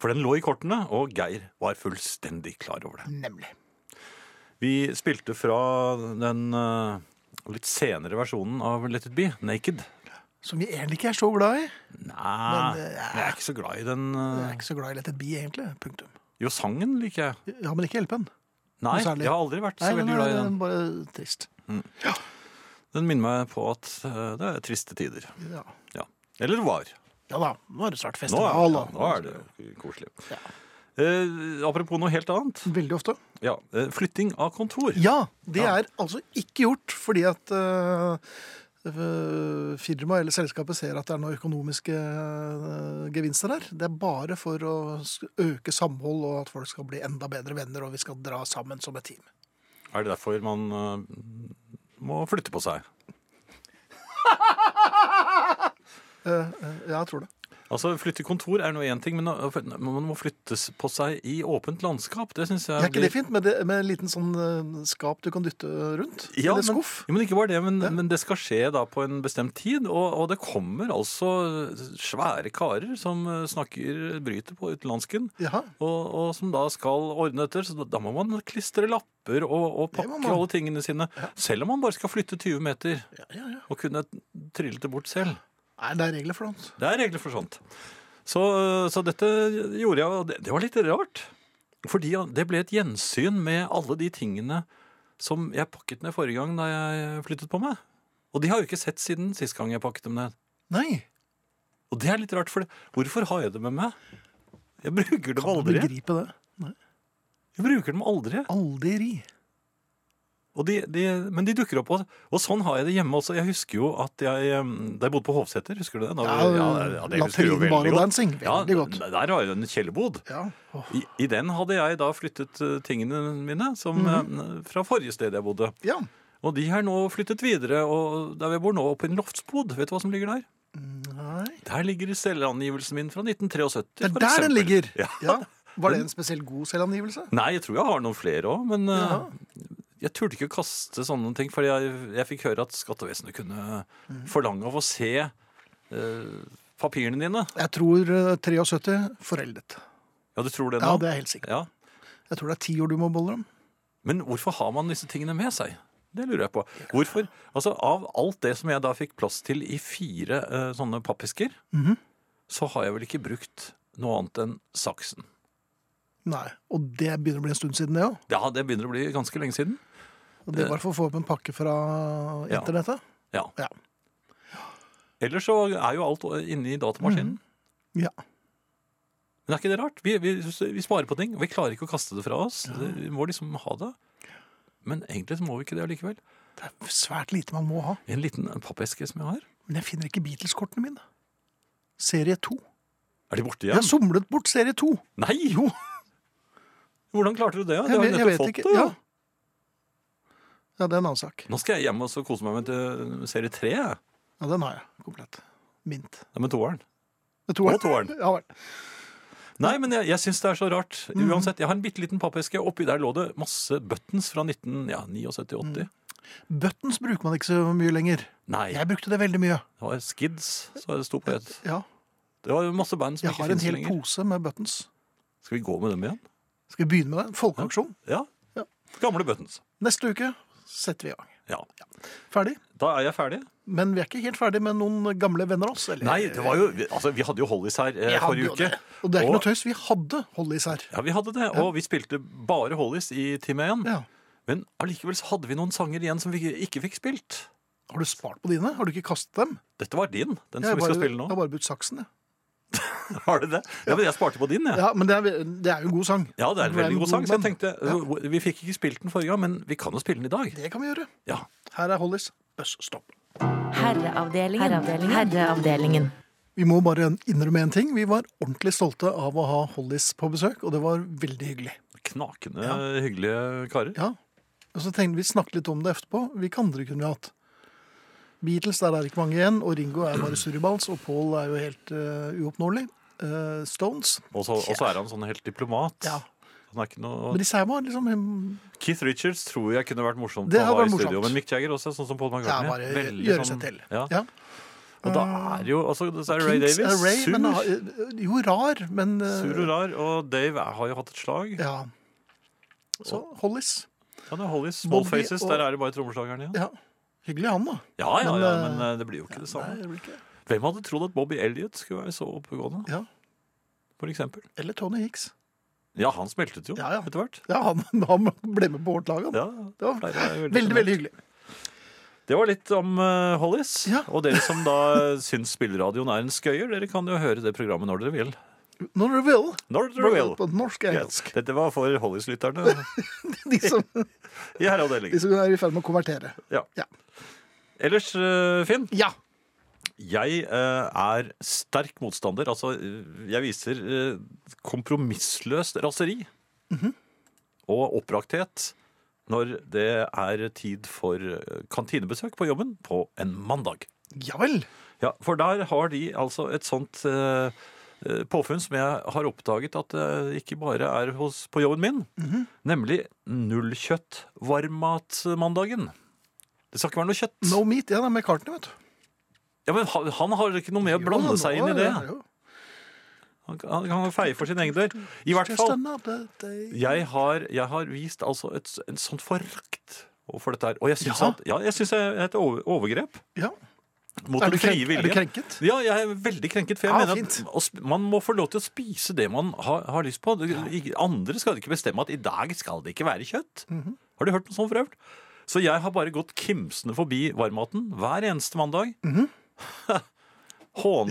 Speaker 4: For den lå i kortene, og Geir var fullstendig klar over det.
Speaker 3: Nemlig.
Speaker 4: Vi spilte fra den eh, litt senere versjonen av Let it be, Naked.
Speaker 3: Som vi egentlig ikke er så glad i.
Speaker 4: Nei,
Speaker 3: Men, eh,
Speaker 4: jeg er ikke så glad i den.
Speaker 3: Jeg er
Speaker 4: eh,
Speaker 3: ikke så glad i Let it be, egentlig. Punktum.
Speaker 4: Jo, sangen liker jeg.
Speaker 3: Ja, men ikke hjelpen.
Speaker 4: Nei,
Speaker 3: Noe særlig.
Speaker 4: jeg har aldri vært så
Speaker 3: Nei, den
Speaker 4: veldig
Speaker 3: er eh,
Speaker 4: glad i den.
Speaker 3: bare trist.
Speaker 4: Den minner meg på at eh, det er triste tider.
Speaker 3: Ja.
Speaker 4: Ja. Eller var.
Speaker 3: ja da, nå er det snart
Speaker 4: Nå er,
Speaker 3: festival.
Speaker 4: ja,
Speaker 3: og-
Speaker 4: nå er det jo koselig. Eh, apropos noe helt annet.
Speaker 3: Veldig ofte.
Speaker 4: Ja, eh, flytting av kontor.
Speaker 3: Ja, det
Speaker 4: Ja.
Speaker 3: er altså ikke gjort fordi at uh, firmaet eller selskapet ser at det er noen økonomiske eh, gevinster der. Det er bare for å s- øke samhold og at folk skal bli enda bedre venner og vi skal dra sammen som et team.
Speaker 4: Er det derfor man eh, må flytte på seg?
Speaker 3: Eh, Ja, jeg tror det.
Speaker 4: Altså, Flytte kontor er nå én ting, men å- men man må flyttes på seg i åpent landskap. Det synes jeg
Speaker 3: Er ikke det
Speaker 4: blir-
Speaker 3: fint med, det, med en liten sånn eh, skap du kan dytte rundt?
Speaker 4: Ja,
Speaker 3: eller
Speaker 4: men,
Speaker 3: skuff?
Speaker 4: ja, men ikke bare det, men, men det skal skje da på en bestemt tid. Og, og det kommer altså svære karer som eh, snakker bryter på utenlandsken.
Speaker 3: Jaha.
Speaker 4: Og, og som da skal ordne etter. Så da, da må man klistre lapper og, og
Speaker 3: Det må
Speaker 4: pakke
Speaker 3: man.
Speaker 4: alle tingene sine. Selv om man bare skal flytte 20 meter
Speaker 3: Ja, ja, ja.
Speaker 4: og kunne trylle det bort selv.
Speaker 3: Nei, det er regler for noe.
Speaker 4: Det er regler for sånt. Så, eh, så dette gjorde jeg, og det, det var litt rart. Fordi det ble et gjensyn med alle de tingene som jeg pakket ned forrige gang da jeg flyttet på meg. Og de har jeg jo ikke sett siden sist gang jeg pakket dem ned.
Speaker 3: Nei.
Speaker 4: Og det er litt rart, for det- hvorfor har jeg det med meg? Jeg bruker
Speaker 3: Kan
Speaker 4: dem
Speaker 3: du
Speaker 4: aldri.
Speaker 3: begripe det? Nei.
Speaker 4: Jeg bruker dem aldri.
Speaker 3: Aldri.
Speaker 4: Og de, de, men de dukker opp, og, og sånn har jeg det hjemme også. Jeg husker jo at jeg em, Da jeg bodde på Hovseter, husker du det? Da,
Speaker 3: Ja,
Speaker 4: husker du jo
Speaker 3: Latrinen, bar og
Speaker 4: veldig godt.
Speaker 3: dancing. Veldig godt.
Speaker 4: Ja, der har jeg en kjellerbod.
Speaker 3: Ja. Åh.
Speaker 4: I, I den hadde jeg da flyttet eh, tingene mine som,
Speaker 3: Mhm.
Speaker 4: eh, fra forrige sted jeg bodde.
Speaker 3: ja.
Speaker 4: Og de har nå flyttet videre, og der vi bor nå, på en loftsbod. Vet du hva som ligger der?
Speaker 3: Nei.
Speaker 4: Der ligger selvangivelsen min fra 1973.
Speaker 3: Det er
Speaker 4: for
Speaker 3: der den
Speaker 4: eksempel.
Speaker 3: ligger!
Speaker 4: Ja.
Speaker 3: Ja. Var det en spesielt god selvangivelse?
Speaker 4: Nei, jeg tror jeg har noen flere òg, men eh,
Speaker 3: Ja.
Speaker 4: jeg turte ikke å kaste sånne ting, fordi jeg, jeg fikk høre at skattevesenet kunne
Speaker 3: Mhm.
Speaker 4: forlange av å se eh, papirene dine.
Speaker 3: Jeg tror eh, 73 foreldet.
Speaker 4: Ja, du tror det
Speaker 3: Ja,
Speaker 4: nå?
Speaker 3: det er helt sikkert.
Speaker 4: Ja.
Speaker 3: Jeg tror det er ti år du må bolle dem.
Speaker 4: Men hvorfor har man disse tingene med seg? Det lurer jeg på. Hvorfor? Altså, Av alt det som jeg da fikk plass til i fire eh, sånne pappesker,
Speaker 3: Mhm.
Speaker 4: så har jeg vel ikke brukt noe annet enn saksen.
Speaker 3: Nei. Og det begynner å bli en stund siden, det òg.
Speaker 4: Ja, det begynner å bli ganske lenge siden.
Speaker 3: Og det var for å få opp en pakke fra
Speaker 4: Ja.
Speaker 3: internettet.
Speaker 4: Ja.
Speaker 3: Ja.
Speaker 4: Ellers så er jo alt inne i
Speaker 3: Mhm.
Speaker 4: datamaskinen.
Speaker 3: Ja.
Speaker 4: Men er ikke det rart? Vi, vi, vi sparer på ting, og vi klarer ikke å kaste det fra oss. Vi må liksom ha det. Men egentlig så må vi ikke det allikevel.
Speaker 3: Det er svært lite man må ha.
Speaker 4: En liten pappeske som jeg har.
Speaker 3: Men jeg finner ikke Beatles-kortene mine. Serie 2.
Speaker 4: Er de borte
Speaker 3: Jeg har
Speaker 4: igjen?
Speaker 3: somlet bort serie 2.
Speaker 4: Nei! Jo! Hvordan klarte du det? Du
Speaker 3: Jeg,
Speaker 4: har
Speaker 3: vet-
Speaker 4: jo
Speaker 3: jeg
Speaker 4: nettopp
Speaker 3: vet
Speaker 4: fått
Speaker 3: ikke.
Speaker 4: det.
Speaker 3: Ja.
Speaker 4: jo.
Speaker 3: ja, det er en annen sak.
Speaker 4: Nå skal jeg hjem og så kose meg med eh, serie tre. jeg.
Speaker 3: Ja, den har jeg komplett. Mint.
Speaker 4: Nei, Med toeren.
Speaker 3: Med toeren.
Speaker 4: Og toeren.
Speaker 3: [laughs] Ja, vel.
Speaker 4: Nei, men jeg, jeg syns det er så rart.
Speaker 3: Mm.
Speaker 4: Uansett, Jeg har en bitte liten pappeske. Oppi der lå det masse buttons fra 1979-80.
Speaker 3: Buttons bruker man ikke så mye lenger.
Speaker 4: Nei,
Speaker 3: Mm. Jeg brukte det veldig mye.
Speaker 4: det var Skids, så det sto på et.
Speaker 3: Ja,
Speaker 4: Det var masse band som
Speaker 3: jeg
Speaker 4: ikke
Speaker 3: har en
Speaker 4: finnes
Speaker 3: hel
Speaker 4: lenger.
Speaker 3: pose med buttons.
Speaker 4: Skal vi gå med dem igjen?
Speaker 3: Skal vi begynne med det? Folkeaksjon.
Speaker 4: Ja.
Speaker 3: Ja.
Speaker 4: Gamle buttons.
Speaker 3: Neste uke setter vi i gang.
Speaker 4: Ja.
Speaker 3: Ferdig.
Speaker 4: Da er jeg ferdig.
Speaker 3: Men vi er ikke helt ferdig med noen gamle venner av oss. Eller?
Speaker 4: Nei, det var jo Altså, vi hadde jo Hollies her eh,
Speaker 3: Vi hadde
Speaker 4: forrige
Speaker 3: jo
Speaker 4: uke.
Speaker 3: det. Og det er ikke
Speaker 4: Og-
Speaker 3: noe tøys. Vi hadde Hollies her.
Speaker 4: Ja, vi hadde det. Og vi spilte bare Hollies i time én.
Speaker 3: Ja.
Speaker 4: Men allikevel så hadde vi noen sanger igjen som vi ikke- ikke fikk spilt.
Speaker 3: Har du spart på dine? Har du ikke kastet dem?
Speaker 4: Dette var din, den
Speaker 3: Jeg
Speaker 4: som
Speaker 3: har
Speaker 4: vi skal
Speaker 3: bare-
Speaker 4: spille nå.
Speaker 3: Jeg har bare brutt saksen, jeg.
Speaker 4: Har du det? Ja, men jeg sparte på din, jeg.
Speaker 3: Ja, men det er, det er jo en god sang.
Speaker 4: Ja, det er en veldig god sang, så jeg
Speaker 3: Men
Speaker 4: tenkte øh, Vi fikk ikke spilt den forrige gang, men vi kan jo spille den i dag.
Speaker 3: Det kan vi gjøre.
Speaker 4: Ja.
Speaker 3: Her er Hollies Buzz Stop.
Speaker 6: Herreavdelingen. Herreavdelingen. Herreavdelingen.
Speaker 3: Vi må bare innrømme en ting. Vi var ordentlig stolte av å ha Hollies på besøk, og det var veldig hyggelig.
Speaker 4: Knakende hyggelige karer.
Speaker 3: Ja. Og så tenkte vi snakket litt om det etterpå. Hvilke andre kunne vi hatt? Beatles, der er det ikke mange igjen, og Ringo er bare surrebals, og Paul er jo helt eh, uoppnåelig. Eh, Stones.
Speaker 4: Og så og så er han sånn helt diplomat.
Speaker 3: Ja.
Speaker 4: Han er ikke noe...
Speaker 3: Men disse her var liksom hm,
Speaker 4: Keith Richards tror jeg kunne vært morsomt
Speaker 3: Det
Speaker 4: å
Speaker 3: hadde
Speaker 4: ha i
Speaker 3: vært
Speaker 4: studio.
Speaker 3: morsomt.
Speaker 4: Men Mick Jagger også, sånn som Paul
Speaker 3: ja,
Speaker 4: McCartney.
Speaker 3: bare
Speaker 4: Veldig
Speaker 3: gjøre
Speaker 4: sånn-
Speaker 3: seg til.
Speaker 4: Ja.
Speaker 3: Ja. Øh,
Speaker 4: Og da er jo også, så er det Ray
Speaker 3: Kinks
Speaker 4: Davis.
Speaker 3: er Ray,
Speaker 4: sur,
Speaker 3: men, eh, jo, rar, men eh,
Speaker 4: sur og rar. Og Dave er- har jo hatt et slag. Ja,
Speaker 3: Ja. Så Hollies.
Speaker 4: det er Hollies Small
Speaker 3: Bobby
Speaker 4: Faces.
Speaker 3: og-
Speaker 4: Der er det bare trommeslageren igjen.
Speaker 3: Ja. Hyggelig han, da.
Speaker 4: Ja, ja, ja,
Speaker 3: Men, eh,
Speaker 4: men eh, det blir jo ikke det
Speaker 3: Nei,
Speaker 4: samme.
Speaker 3: det blir ikke det.
Speaker 4: Hvem hadde trodd at Bobby Elliot skulle være så oppegående?
Speaker 3: Ja.
Speaker 4: For eksempel.
Speaker 3: Eller Tony Hicks.
Speaker 4: Ja, han smeltet jo
Speaker 3: Ja, ja.
Speaker 4: etter hvert.
Speaker 3: Ja, han, [laughs] han ble med på vårt lag, han.
Speaker 4: Ja,
Speaker 3: Det var
Speaker 4: det er sånn.
Speaker 3: veldig, veldig, hyggelig.
Speaker 4: Det var litt om eh, Hollies.
Speaker 3: Ja.
Speaker 4: Og dere som da [laughs] syns spilleradioen er en skøyer, dere kan jo høre det programmet når dere vil.
Speaker 3: Når dere vil.
Speaker 4: Når dere vil.
Speaker 3: På norsk og
Speaker 4: Yes.
Speaker 3: engelsk.
Speaker 4: Dette var for Hollies-lytterne
Speaker 3: [laughs] De, som,
Speaker 4: i
Speaker 3: de
Speaker 4: herreavdelingen.
Speaker 3: som er i ferd med å konvertere.
Speaker 4: Ja.
Speaker 3: Ja.
Speaker 4: Ellers, eh, Finn,
Speaker 3: Ja.
Speaker 4: jeg eh, er sterk motstander. Altså, eh, jeg viser eh, kompromissløst raseri Mhm. og oppbrakthet når det er tid for eh, kantinebesøk på jobben på en mandag.
Speaker 3: Ja vel.
Speaker 4: Ja, for der har de altså et sånt eh, eh, påfunn som jeg har oppdaget at det ikke bare er hos, på jobben min, nemlig nullkjøtt varmmatmandagen. Det skal ikke være noe kjøtt.
Speaker 3: No meat. Ja, det er McCartney, vet du.
Speaker 4: Ja, men han, han har ikke noe med å
Speaker 3: Jo,
Speaker 4: blande
Speaker 3: nå
Speaker 4: seg inn i
Speaker 3: er
Speaker 4: det.
Speaker 3: jo-
Speaker 4: Han, kan- han kan feie for sin egen dør. I hvert
Speaker 3: Just
Speaker 4: fall,
Speaker 3: another day.
Speaker 4: jeg har, jeg har vist altså et, s- en sånn forakt overfor dette her. Og jeg syns
Speaker 3: Ja.
Speaker 4: at, ja, jeg synes det er et over- overgrep
Speaker 3: Ja.
Speaker 4: mot
Speaker 3: Er, du
Speaker 4: den frie
Speaker 3: krenk, er du
Speaker 4: viljen.
Speaker 3: krenket?
Speaker 4: Ja, jeg er veldig krenket, for jeg
Speaker 3: Ja,
Speaker 4: mener at
Speaker 3: fint.
Speaker 4: å sp- man må få lov til å spise det man har, har lyst på. Det- ikke- Andre skal ikke bestemme at i dag skal det ikke være kjøtt.
Speaker 3: Mhm.
Speaker 4: Har du hørt noe sånt for øvrig? Så jeg har bare gått kimsende forbi varmmaten hver eneste mandag. [laughs] Hånlig.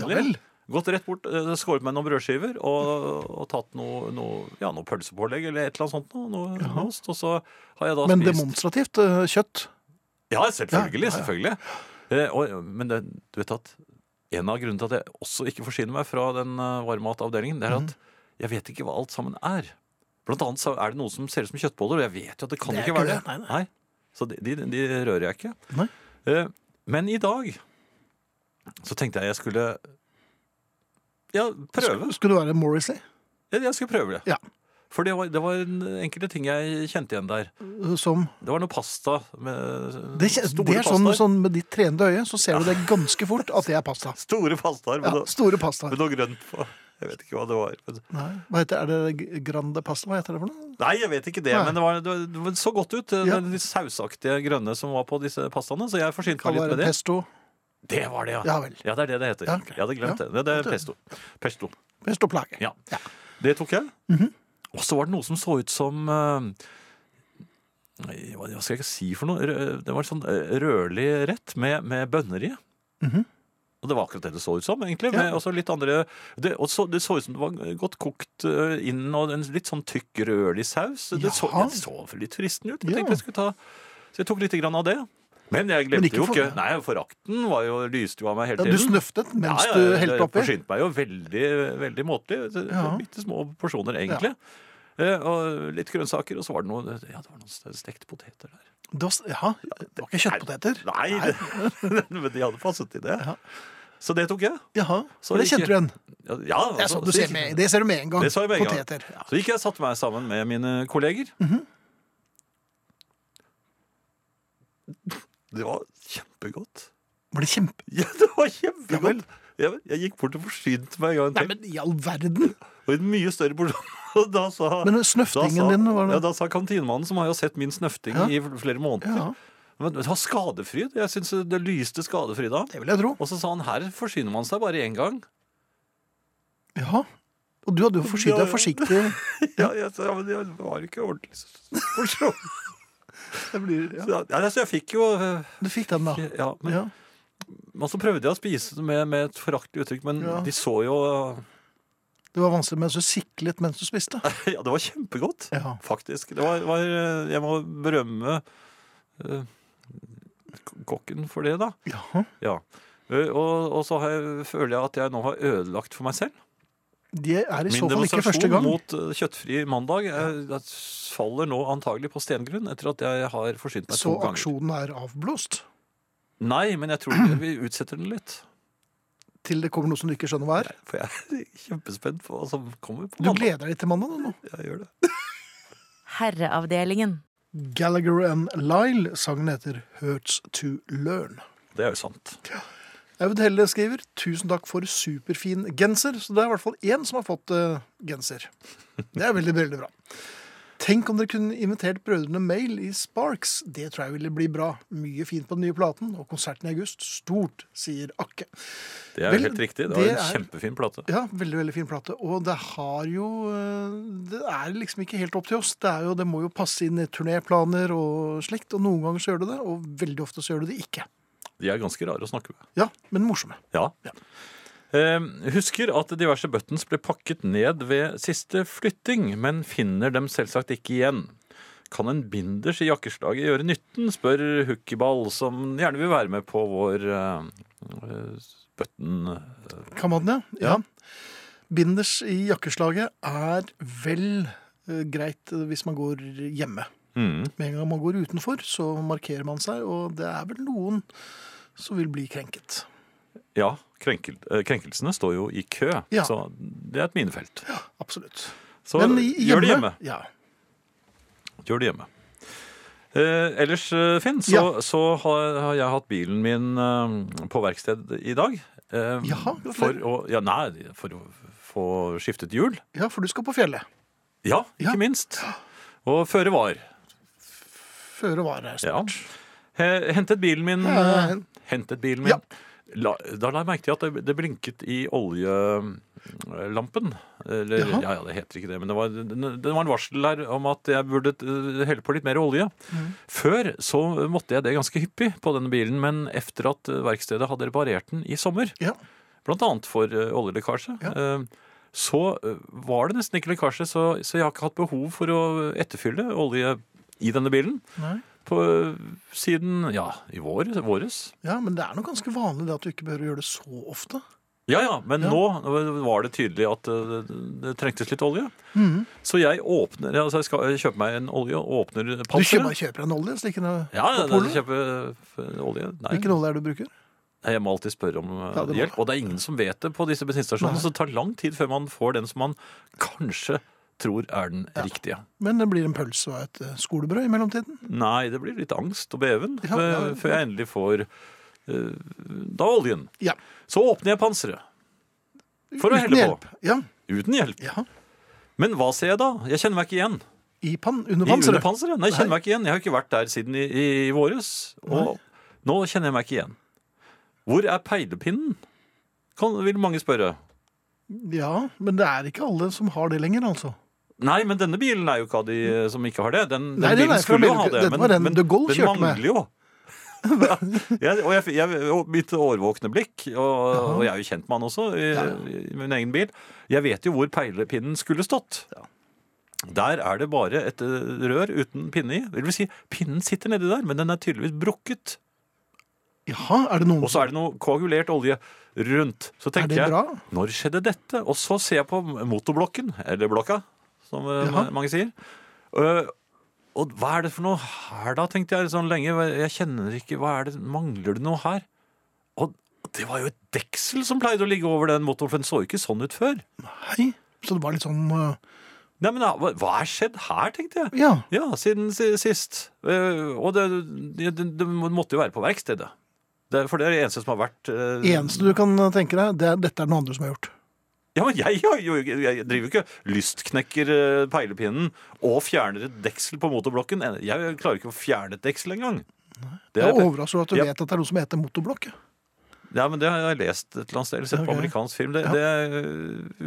Speaker 3: Mhm. Ja vel.
Speaker 4: Gått rett bort, eh, skåret meg noen brødskiver og, og tatt noe, noe, ja, noe pølsepålegg eller et eller annet sånt. Noe, noe ost, og så har jeg da
Speaker 3: Men
Speaker 4: spist
Speaker 3: demonstrativt eh, kjøtt.
Speaker 4: ja, selvfølgelig.
Speaker 3: Ja, ja, ja.
Speaker 4: selvfølgelig. Eh, og, men det, du vet at en av grunnene til at jeg også ikke forsyner meg fra den eh, varmmatavdelingen, det er
Speaker 3: Mhm.
Speaker 4: at jeg vet ikke hva alt sammen er. Blant annet så er det noe som ser ut som kjøttboller, og jeg vet jo at det kan
Speaker 3: Det er
Speaker 4: ikke være det.
Speaker 3: ikke det. Nei,
Speaker 4: Så de, de, de rører jeg ikke.
Speaker 3: Nei.
Speaker 4: Eh, men i dag så tenkte jeg jeg skulle ja, prøve.
Speaker 3: Skulle, skulle du være Morrissey?
Speaker 4: Jeg, jeg skulle prøve det.
Speaker 3: Ja.
Speaker 4: For det var, det var en, enkelte ting jeg kjente igjen der.
Speaker 3: eh, Som
Speaker 4: Det var noe pasta med
Speaker 3: det, kje-
Speaker 4: store
Speaker 3: det er sånn,
Speaker 4: pastaer.
Speaker 3: sånn Med ditt trenende øye så ser du det ganske fort at det er pasta.
Speaker 4: Store pastaer.
Speaker 3: Ja,
Speaker 4: men det-
Speaker 3: store pastaer.
Speaker 4: Med noe grønt på. Jeg vet ikke hva det var. men-
Speaker 3: Nei. Hva heter, er det G- Grande Pasta? Hva heter det for noe?
Speaker 4: Nei, jeg vet ikke det,
Speaker 3: Nei.
Speaker 4: men det, var, det, var, det var- så godt ut. eh,
Speaker 3: Ja.
Speaker 4: De sausaktige grønne som var på disse pastaene. Så jeg forsynte
Speaker 3: Kan
Speaker 4: meg litt
Speaker 3: være
Speaker 4: med det.
Speaker 3: pesto.
Speaker 4: Det var det, ja.
Speaker 3: Ja vel.
Speaker 4: det er det det heter.
Speaker 3: Ja, ok.
Speaker 4: Jeg hadde glemt
Speaker 3: Ja.
Speaker 4: det. det. Det er pesto. pesto.
Speaker 3: Pesto plage.
Speaker 4: Ja.
Speaker 3: Ja. Mhm.
Speaker 4: Det tok jeg. Og så var det noe som så ut som eh, nei, hva hva skal jeg ikke si for noe? Rø- Det var sånn eh, rødlig rett med, med bønner i. Og det var akkurat det det så ut som, egentlig. Med
Speaker 3: Mhm. Ja.
Speaker 4: også litt andre, det, og så, det så ut som det var godt kokt eh, inn, og en litt sånn tykk rødlig saus. Det så,
Speaker 3: Jaha.
Speaker 4: det så litt fristen ut. Jeg
Speaker 3: Ja.
Speaker 4: tenkte jeg skulle ta Så jeg tok litt grann av det. Men jeg glemte
Speaker 3: Men ikke
Speaker 4: jo
Speaker 3: for-
Speaker 4: ikke Nei, forakten var jo, lyste jo av meg hele
Speaker 3: Ja,
Speaker 4: tiden.
Speaker 3: du snøftet mens
Speaker 4: Ja, ja,
Speaker 3: du
Speaker 4: ja,
Speaker 3: helte
Speaker 4: jeg
Speaker 3: oppi?
Speaker 4: forsynte meg jo veldig, veldig måtelig.
Speaker 3: Ja.
Speaker 4: Bitte små porsjoner, egentlig. Eh, Og litt grønnsaker, og så var det noe, ja, det var noen stekte poteter der.
Speaker 3: Da s- Jaha, det var ikke kjøttpoteter?
Speaker 4: Nei,
Speaker 3: [laughs]
Speaker 4: det- men de hadde passet til det.
Speaker 3: Ja.
Speaker 4: Så det tok jeg.
Speaker 3: Jaha, så
Speaker 4: Så
Speaker 3: det
Speaker 4: ikke-
Speaker 3: kjente du igjen?
Speaker 4: Ja, ja,
Speaker 3: Ja, så,
Speaker 4: altså,
Speaker 3: sånn du ser med, det ser du med en gang.
Speaker 4: Det sa jeg med en gang.
Speaker 3: Poteter. Ja. Mhm.
Speaker 4: Så gikk jeg og satte meg sammen med mine kolleger. [laughs] Det var kjempegodt. [laughs]
Speaker 3: Var det kjempe...
Speaker 4: Ja, det
Speaker 3: Ja
Speaker 4: var
Speaker 3: vel.
Speaker 4: kjempegodt. Jeg, jeg gikk bort og forsynte meg en gang
Speaker 3: Nei,
Speaker 4: til.
Speaker 3: men i all verden!
Speaker 4: Og en mye større porsjon. [laughs] Og da sa,
Speaker 3: Men
Speaker 4: da
Speaker 3: snøftingen
Speaker 4: sa,
Speaker 3: din var
Speaker 4: ja,
Speaker 3: det...
Speaker 4: da sa kantinemannen, som har jo sett min snøfting
Speaker 3: Ja.
Speaker 4: i flere måneder
Speaker 3: Ja,
Speaker 4: Men det var skadefryd. Jeg syns det lyste skadefryd av.
Speaker 3: det vil jeg tro.
Speaker 4: Og så sa han her forsyner man seg bare én gang.
Speaker 3: Ja. Og du hadde jo forsynt
Speaker 4: Ja, [laughs]
Speaker 3: deg
Speaker 4: ja.
Speaker 3: forsiktig.
Speaker 4: Ja, jeg, sa, ja, men jeg var ikke ordentlig s- forsynt.
Speaker 3: Det blir, ja.
Speaker 4: Så, ja, altså, jeg fikk jo eh,
Speaker 3: Du fikk den, da.
Speaker 4: ja, men,
Speaker 3: Ja.
Speaker 4: men så prøvde jeg å spise det med, med et foraktelig uttrykk, men
Speaker 3: Ja.
Speaker 4: de så jo [laughs] eh,
Speaker 3: Det var vanskelig mens du siklet mens du spiste.
Speaker 4: Ja, det var kjempegodt,
Speaker 3: Ja.
Speaker 4: faktisk. Det var, var eh, Jeg må berømme eh, k- kokken for det, da.
Speaker 3: Ja.
Speaker 4: Ja. Eh, Og, og så har jeg, føler jeg at jeg nå har ødelagt for meg selv.
Speaker 3: Det er i
Speaker 4: Min
Speaker 3: så fall ikke første
Speaker 4: demonstrasjon
Speaker 3: gang.
Speaker 4: mot eh, kjøttfri mandag eh, det faller nå antagelig på stengrunn etter at jeg har forsynt meg
Speaker 3: Så
Speaker 4: to ganger.
Speaker 3: aksjonen er avblåst?
Speaker 4: Nei, men jeg tror vi utsetter den litt.
Speaker 3: Til det kommer noe som du ikke skjønner hva er?
Speaker 4: For jeg er [laughs] kjempespent på hva som kommer på
Speaker 3: Du
Speaker 4: mandag.
Speaker 3: gleder deg til mandag nå?
Speaker 4: Jeg gjør det.
Speaker 6: Herreavdelingen.
Speaker 3: Gallagher and Lyle, sangen heter Hurts to Learn.
Speaker 4: Det er jo sant.
Speaker 3: Aud Helle skriver 'Tusen takk for superfin genser'. Så det er i hvert fall én som har fått eh, genser. Det er veldig, veldig bra. Tenk om dere kunne invitert Brødrene Mail i Sparks. Det tror jeg ville bli bra. Mye fint på den nye platen, og konserten i august. Stort, sier Akke.
Speaker 4: Det er jo
Speaker 3: Vel,
Speaker 4: helt riktig. Det
Speaker 3: det
Speaker 4: var en
Speaker 3: er-
Speaker 4: kjempefin plate.
Speaker 3: Ja, veldig, veldig fin plate. Og det har jo eh, Det er liksom ikke helt opp til oss. Det, er jo, det må jo passe inn i turnéplaner og slikt. Og noen ganger så gjør du det, og veldig ofte så gjør du det ikke.
Speaker 4: De er ganske rare å snakke med.
Speaker 3: Ja, men morsomme.
Speaker 4: Ja.
Speaker 3: Ja.
Speaker 4: Eh, husker at diverse buttons ble pakket ned ved siste flytting, men finner dem selvsagt ikke igjen. Kan en binders i jakkeslaget gjøre nytten, spør Hukkiball, som gjerne vil være med på vår eh, eh, button...
Speaker 3: Kan man det? Ja. Binders i jakkeslaget er vel eh, greit eh, hvis man går hjemme.
Speaker 4: Mm.
Speaker 3: Med en gang man går utenfor, så markerer man seg, og det er vel noen som vil bli krenket.
Speaker 4: Ja, krenkel, eh, krenkelsene står jo i kø,
Speaker 3: Ja.
Speaker 4: så det er et minefelt.
Speaker 3: Absolutt.
Speaker 4: Så gjør det hjemme.
Speaker 3: Ja.
Speaker 4: Gjør det hjemme. Eh, ellers, eh, Finn, så,
Speaker 3: Ja.
Speaker 4: så har, har jeg hatt bilen min eh, på verksted i dag. Eh,
Speaker 3: Jaha, hvorfor
Speaker 4: for
Speaker 3: det?
Speaker 4: å, ja, nei, for å få skiftet hjul.
Speaker 3: ja, for du skal på fjellet.
Speaker 4: Ja, ikke
Speaker 3: Ja.
Speaker 4: minst. Og føre var.
Speaker 3: Føre var her
Speaker 4: Ja.
Speaker 3: snart.
Speaker 4: Eh, hentet bilen min.
Speaker 3: Ja,
Speaker 4: eh,
Speaker 3: hen-
Speaker 4: hentet bilen min.
Speaker 3: Ja.
Speaker 4: La, da la jeg merke til at det, det blinket i oljelampen. Eller,
Speaker 3: Jaha.
Speaker 4: ja, ja, det heter ikke det, men det var, det, det var en varsel her om at jeg burde eh, helle på litt mer olje.
Speaker 3: Mm.
Speaker 4: Før så måtte jeg det ganske hyppig på denne bilen, men efter at eh, verkstedet hadde reparert den i sommer,
Speaker 3: Ja.
Speaker 4: blant annet for eh, oljelekkasje, eh, så eh, var det nesten ikke lekkasje, så, så jeg har ikke hatt behov for å etterfylle olje i denne bilen.
Speaker 3: Nei.
Speaker 4: På, eh, siden, ja, i vår, våres.
Speaker 3: ja, men det er nok ganske vanlig det at du ikke behøver å gjøre det så ofte.
Speaker 4: Ja, ja, men nå var det tydelig at eh, det, det trengtes litt olje.
Speaker 3: Mhm.
Speaker 4: Så jeg åpner, altså jeg skal kjøpe meg en olje og åpner
Speaker 3: Du kjøper,
Speaker 4: panseret.
Speaker 3: bare kjøper en olje? Slik en, eh,
Speaker 4: Ja,
Speaker 3: på
Speaker 4: ja, ja,
Speaker 3: polet.
Speaker 4: kjøpe eh, olje. Nei,
Speaker 3: Hvilken olje er det du bruker?
Speaker 4: jeg må alltid spørre om eh,
Speaker 3: Ja, det må
Speaker 4: hjelp. Og det er ingen som vet det på disse bensinstasjonene,
Speaker 3: Nei.
Speaker 4: så det tar lang tid før man får den som man kanskje tror er den riktige.
Speaker 3: Men det blir en pølse og et eh, skolebrød i mellomtiden.
Speaker 4: Nei, det blir litt angst og beven
Speaker 3: Ja, ja,
Speaker 4: eh, før jeg endelig får eh, da oljen.
Speaker 3: Ja.
Speaker 4: Så åpner jeg panseret. For å
Speaker 3: Uten
Speaker 4: helle på.
Speaker 3: hjelp. Ja.
Speaker 4: Uten hjelp.
Speaker 3: ja.
Speaker 4: Men hva ser jeg da? Jeg kjenner meg ikke igjen.
Speaker 3: I pan, under
Speaker 4: I
Speaker 3: panseret.
Speaker 4: under panseret? Nei, jeg kjenner meg ikke igjen. Jeg har jo ikke vært der siden i, i våres. Og nå kjenner jeg meg ikke igjen. Hvor er peilepinnen? Kan, vil mange spørre.
Speaker 3: Ja, men det er ikke alle som har det lenger, altså.
Speaker 4: Nei, men denne bilen er jo ikke av de eh, som ikke har det. Den, den
Speaker 3: Nei, den er
Speaker 4: bilen
Speaker 3: fra
Speaker 4: skulle jo ha
Speaker 3: Amerika.
Speaker 4: det,
Speaker 3: Dette var den
Speaker 4: men
Speaker 3: De Gaulle
Speaker 4: den
Speaker 3: kjørte med.
Speaker 4: mangler
Speaker 3: [laughs]
Speaker 4: jo. jeg, og jeg, jeg, og mitt årvåkne blikk, og, og jeg er jo kjent med han også, i, i min egen bil. Jeg vet jo hvor peilepinnen skulle stått. Der er det bare et eh, rør uten pinne i. Det vil si, pinnen sitter nedi der, men den er tydeligvis brukket.
Speaker 3: Jaha, er det noen
Speaker 4: Og så er det noe koagulert olje rundt. Så
Speaker 3: Er
Speaker 4: tenkte
Speaker 3: det
Speaker 4: jeg,
Speaker 3: bra?
Speaker 4: når skjedde dette? Og så ser jeg på motorblokken, eller blokka, som eh,
Speaker 3: Jaha.
Speaker 4: mange sier. Eh, og hva er det for noe her da, tenkte jeg sånn lenge. Jeg kjenner ikke, hva er det, mangler det noe her? Og det var jo et deksel som pleide å ligge over den motoren, for den så jo ikke sånn ut før.
Speaker 3: Hei. Så det var litt sånn eh,
Speaker 4: Nei, men hva hva er skjedd her, tenkte jeg.
Speaker 3: Ja.
Speaker 4: Ja, siden si- sist. Eh, og det, det, det, det måtte jo være på verkstedet. Det, for det er det eneste som har vært eh,
Speaker 3: Eneste du kan tenke deg, det er dette er noen andre som har gjort.
Speaker 4: Ja, men jeg, har jo- jeg driver jo ikke lystknekker eh, peilepinnen og fjerner et deksel på motorblokken. Eh, Jeg klarer ikke å fjerne et deksel engang. Det
Speaker 3: Jeg
Speaker 4: er,
Speaker 3: er overrasket over at du
Speaker 4: Ja.
Speaker 3: vet at det er noe som heter motorblokk.
Speaker 4: Ja, men Det har jeg lest et eller annet sted. Eller sett på
Speaker 3: Ok.
Speaker 4: amerikansk film. Det, det,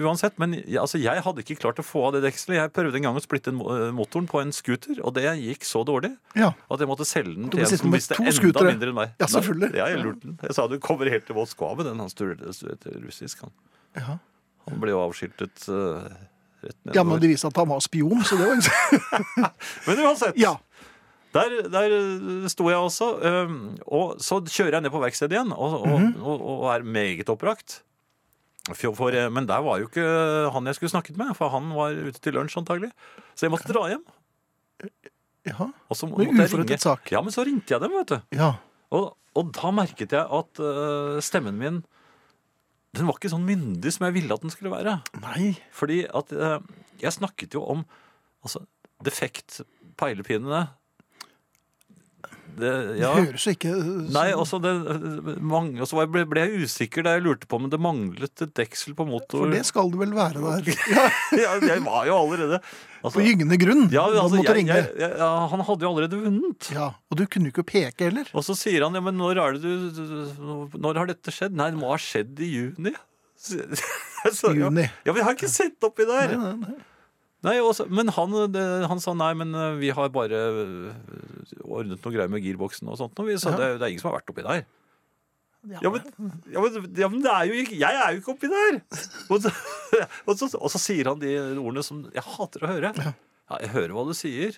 Speaker 4: uansett, men jeg, altså, jeg hadde ikke klart å få av det dekselet. Jeg prøvde en gang å splitte en, mo- eh, motoren på en scooter, og det gikk så dårlig
Speaker 3: Ja.
Speaker 4: at jeg måtte selge den
Speaker 3: Du
Speaker 4: til
Speaker 3: må
Speaker 4: en
Speaker 3: sitte
Speaker 4: som
Speaker 3: med
Speaker 4: visste
Speaker 3: to
Speaker 4: enda
Speaker 3: scootere.
Speaker 4: mindre enn meg.
Speaker 3: Ja, selvfølgelig.
Speaker 4: Nei, Ja, jeg lurte den. Jeg sa du kommer helt til Moskva med den. Han styrte styrte russisk, han.
Speaker 3: Ja.
Speaker 4: Han ble jo avskiltet eh, rett nedover.
Speaker 3: Ja, men det viste at han var spion, så [laughs] det var
Speaker 4: Men uansett,
Speaker 3: Ja.
Speaker 4: der, der eh, sto jeg også. eh, Og så kjører jeg ned på verkstedet igjen og, og,
Speaker 3: Mhm.
Speaker 4: og, og er meget oppbrakt. For, for, eh, men der var jo ikke han jeg skulle snakket med, for han var ute til lunsj antagelig. Så jeg måtte dra hjem.
Speaker 3: Ja.
Speaker 4: Og så må-
Speaker 3: Men
Speaker 4: måtte jeg
Speaker 3: uforrettet
Speaker 4: ringe.
Speaker 3: sak.
Speaker 4: Ja, men så ringte jeg dem, vet du.
Speaker 3: ja.
Speaker 4: Og, og da merket jeg at eh, stemmen min Den var ikke sånn myndig som jeg ville at den skulle være.
Speaker 3: Nei.
Speaker 4: Fordi at eh, jeg snakket jo om altså, defekt peilepinene. Det, ja.
Speaker 3: Det høres jo ikke eh,
Speaker 4: Nei,
Speaker 3: så-
Speaker 4: og så det- mang- og så var jeg- ble, ble jeg usikker da jeg lurte på om det manglet et deksel på
Speaker 3: For
Speaker 4: motor.
Speaker 3: det skal det vel være der.
Speaker 4: [laughs] ja, jeg var jo allerede
Speaker 3: [laughs]
Speaker 4: altså,
Speaker 3: På gyngende grunn.
Speaker 4: ja,
Speaker 3: Da
Speaker 4: altså,
Speaker 3: måtte
Speaker 4: jeg,
Speaker 3: ringe.
Speaker 4: jeg, jeg, ja, Han hadde jo allerede vunnet.
Speaker 3: Ja, Og du kunne jo ikke peke heller.
Speaker 4: Og så sier han ja, men når, er det du, når har dette skjedd? Nei, det må ha skjedd i juni. [laughs] Så, så, ja.
Speaker 3: Juni.
Speaker 4: ja, men jeg har ikke sett oppi der.
Speaker 3: Nei, nei, nei.
Speaker 4: Nei, og så- men han, det- han sa nei, men eh, vi har bare eh, ordnet noe greier med girboksen og sånt. Og vi sa
Speaker 3: Ja.
Speaker 4: det, er- det er ingen som har vært oppi der.
Speaker 3: Ja,
Speaker 4: Ja, men, ja, men, ja, men det er jo ikke, jeg er jo ikke oppi der! Og så, [laughs] og, så, og så sier han de ordene som jeg hater å høre. Ja, jeg hører hva du sier.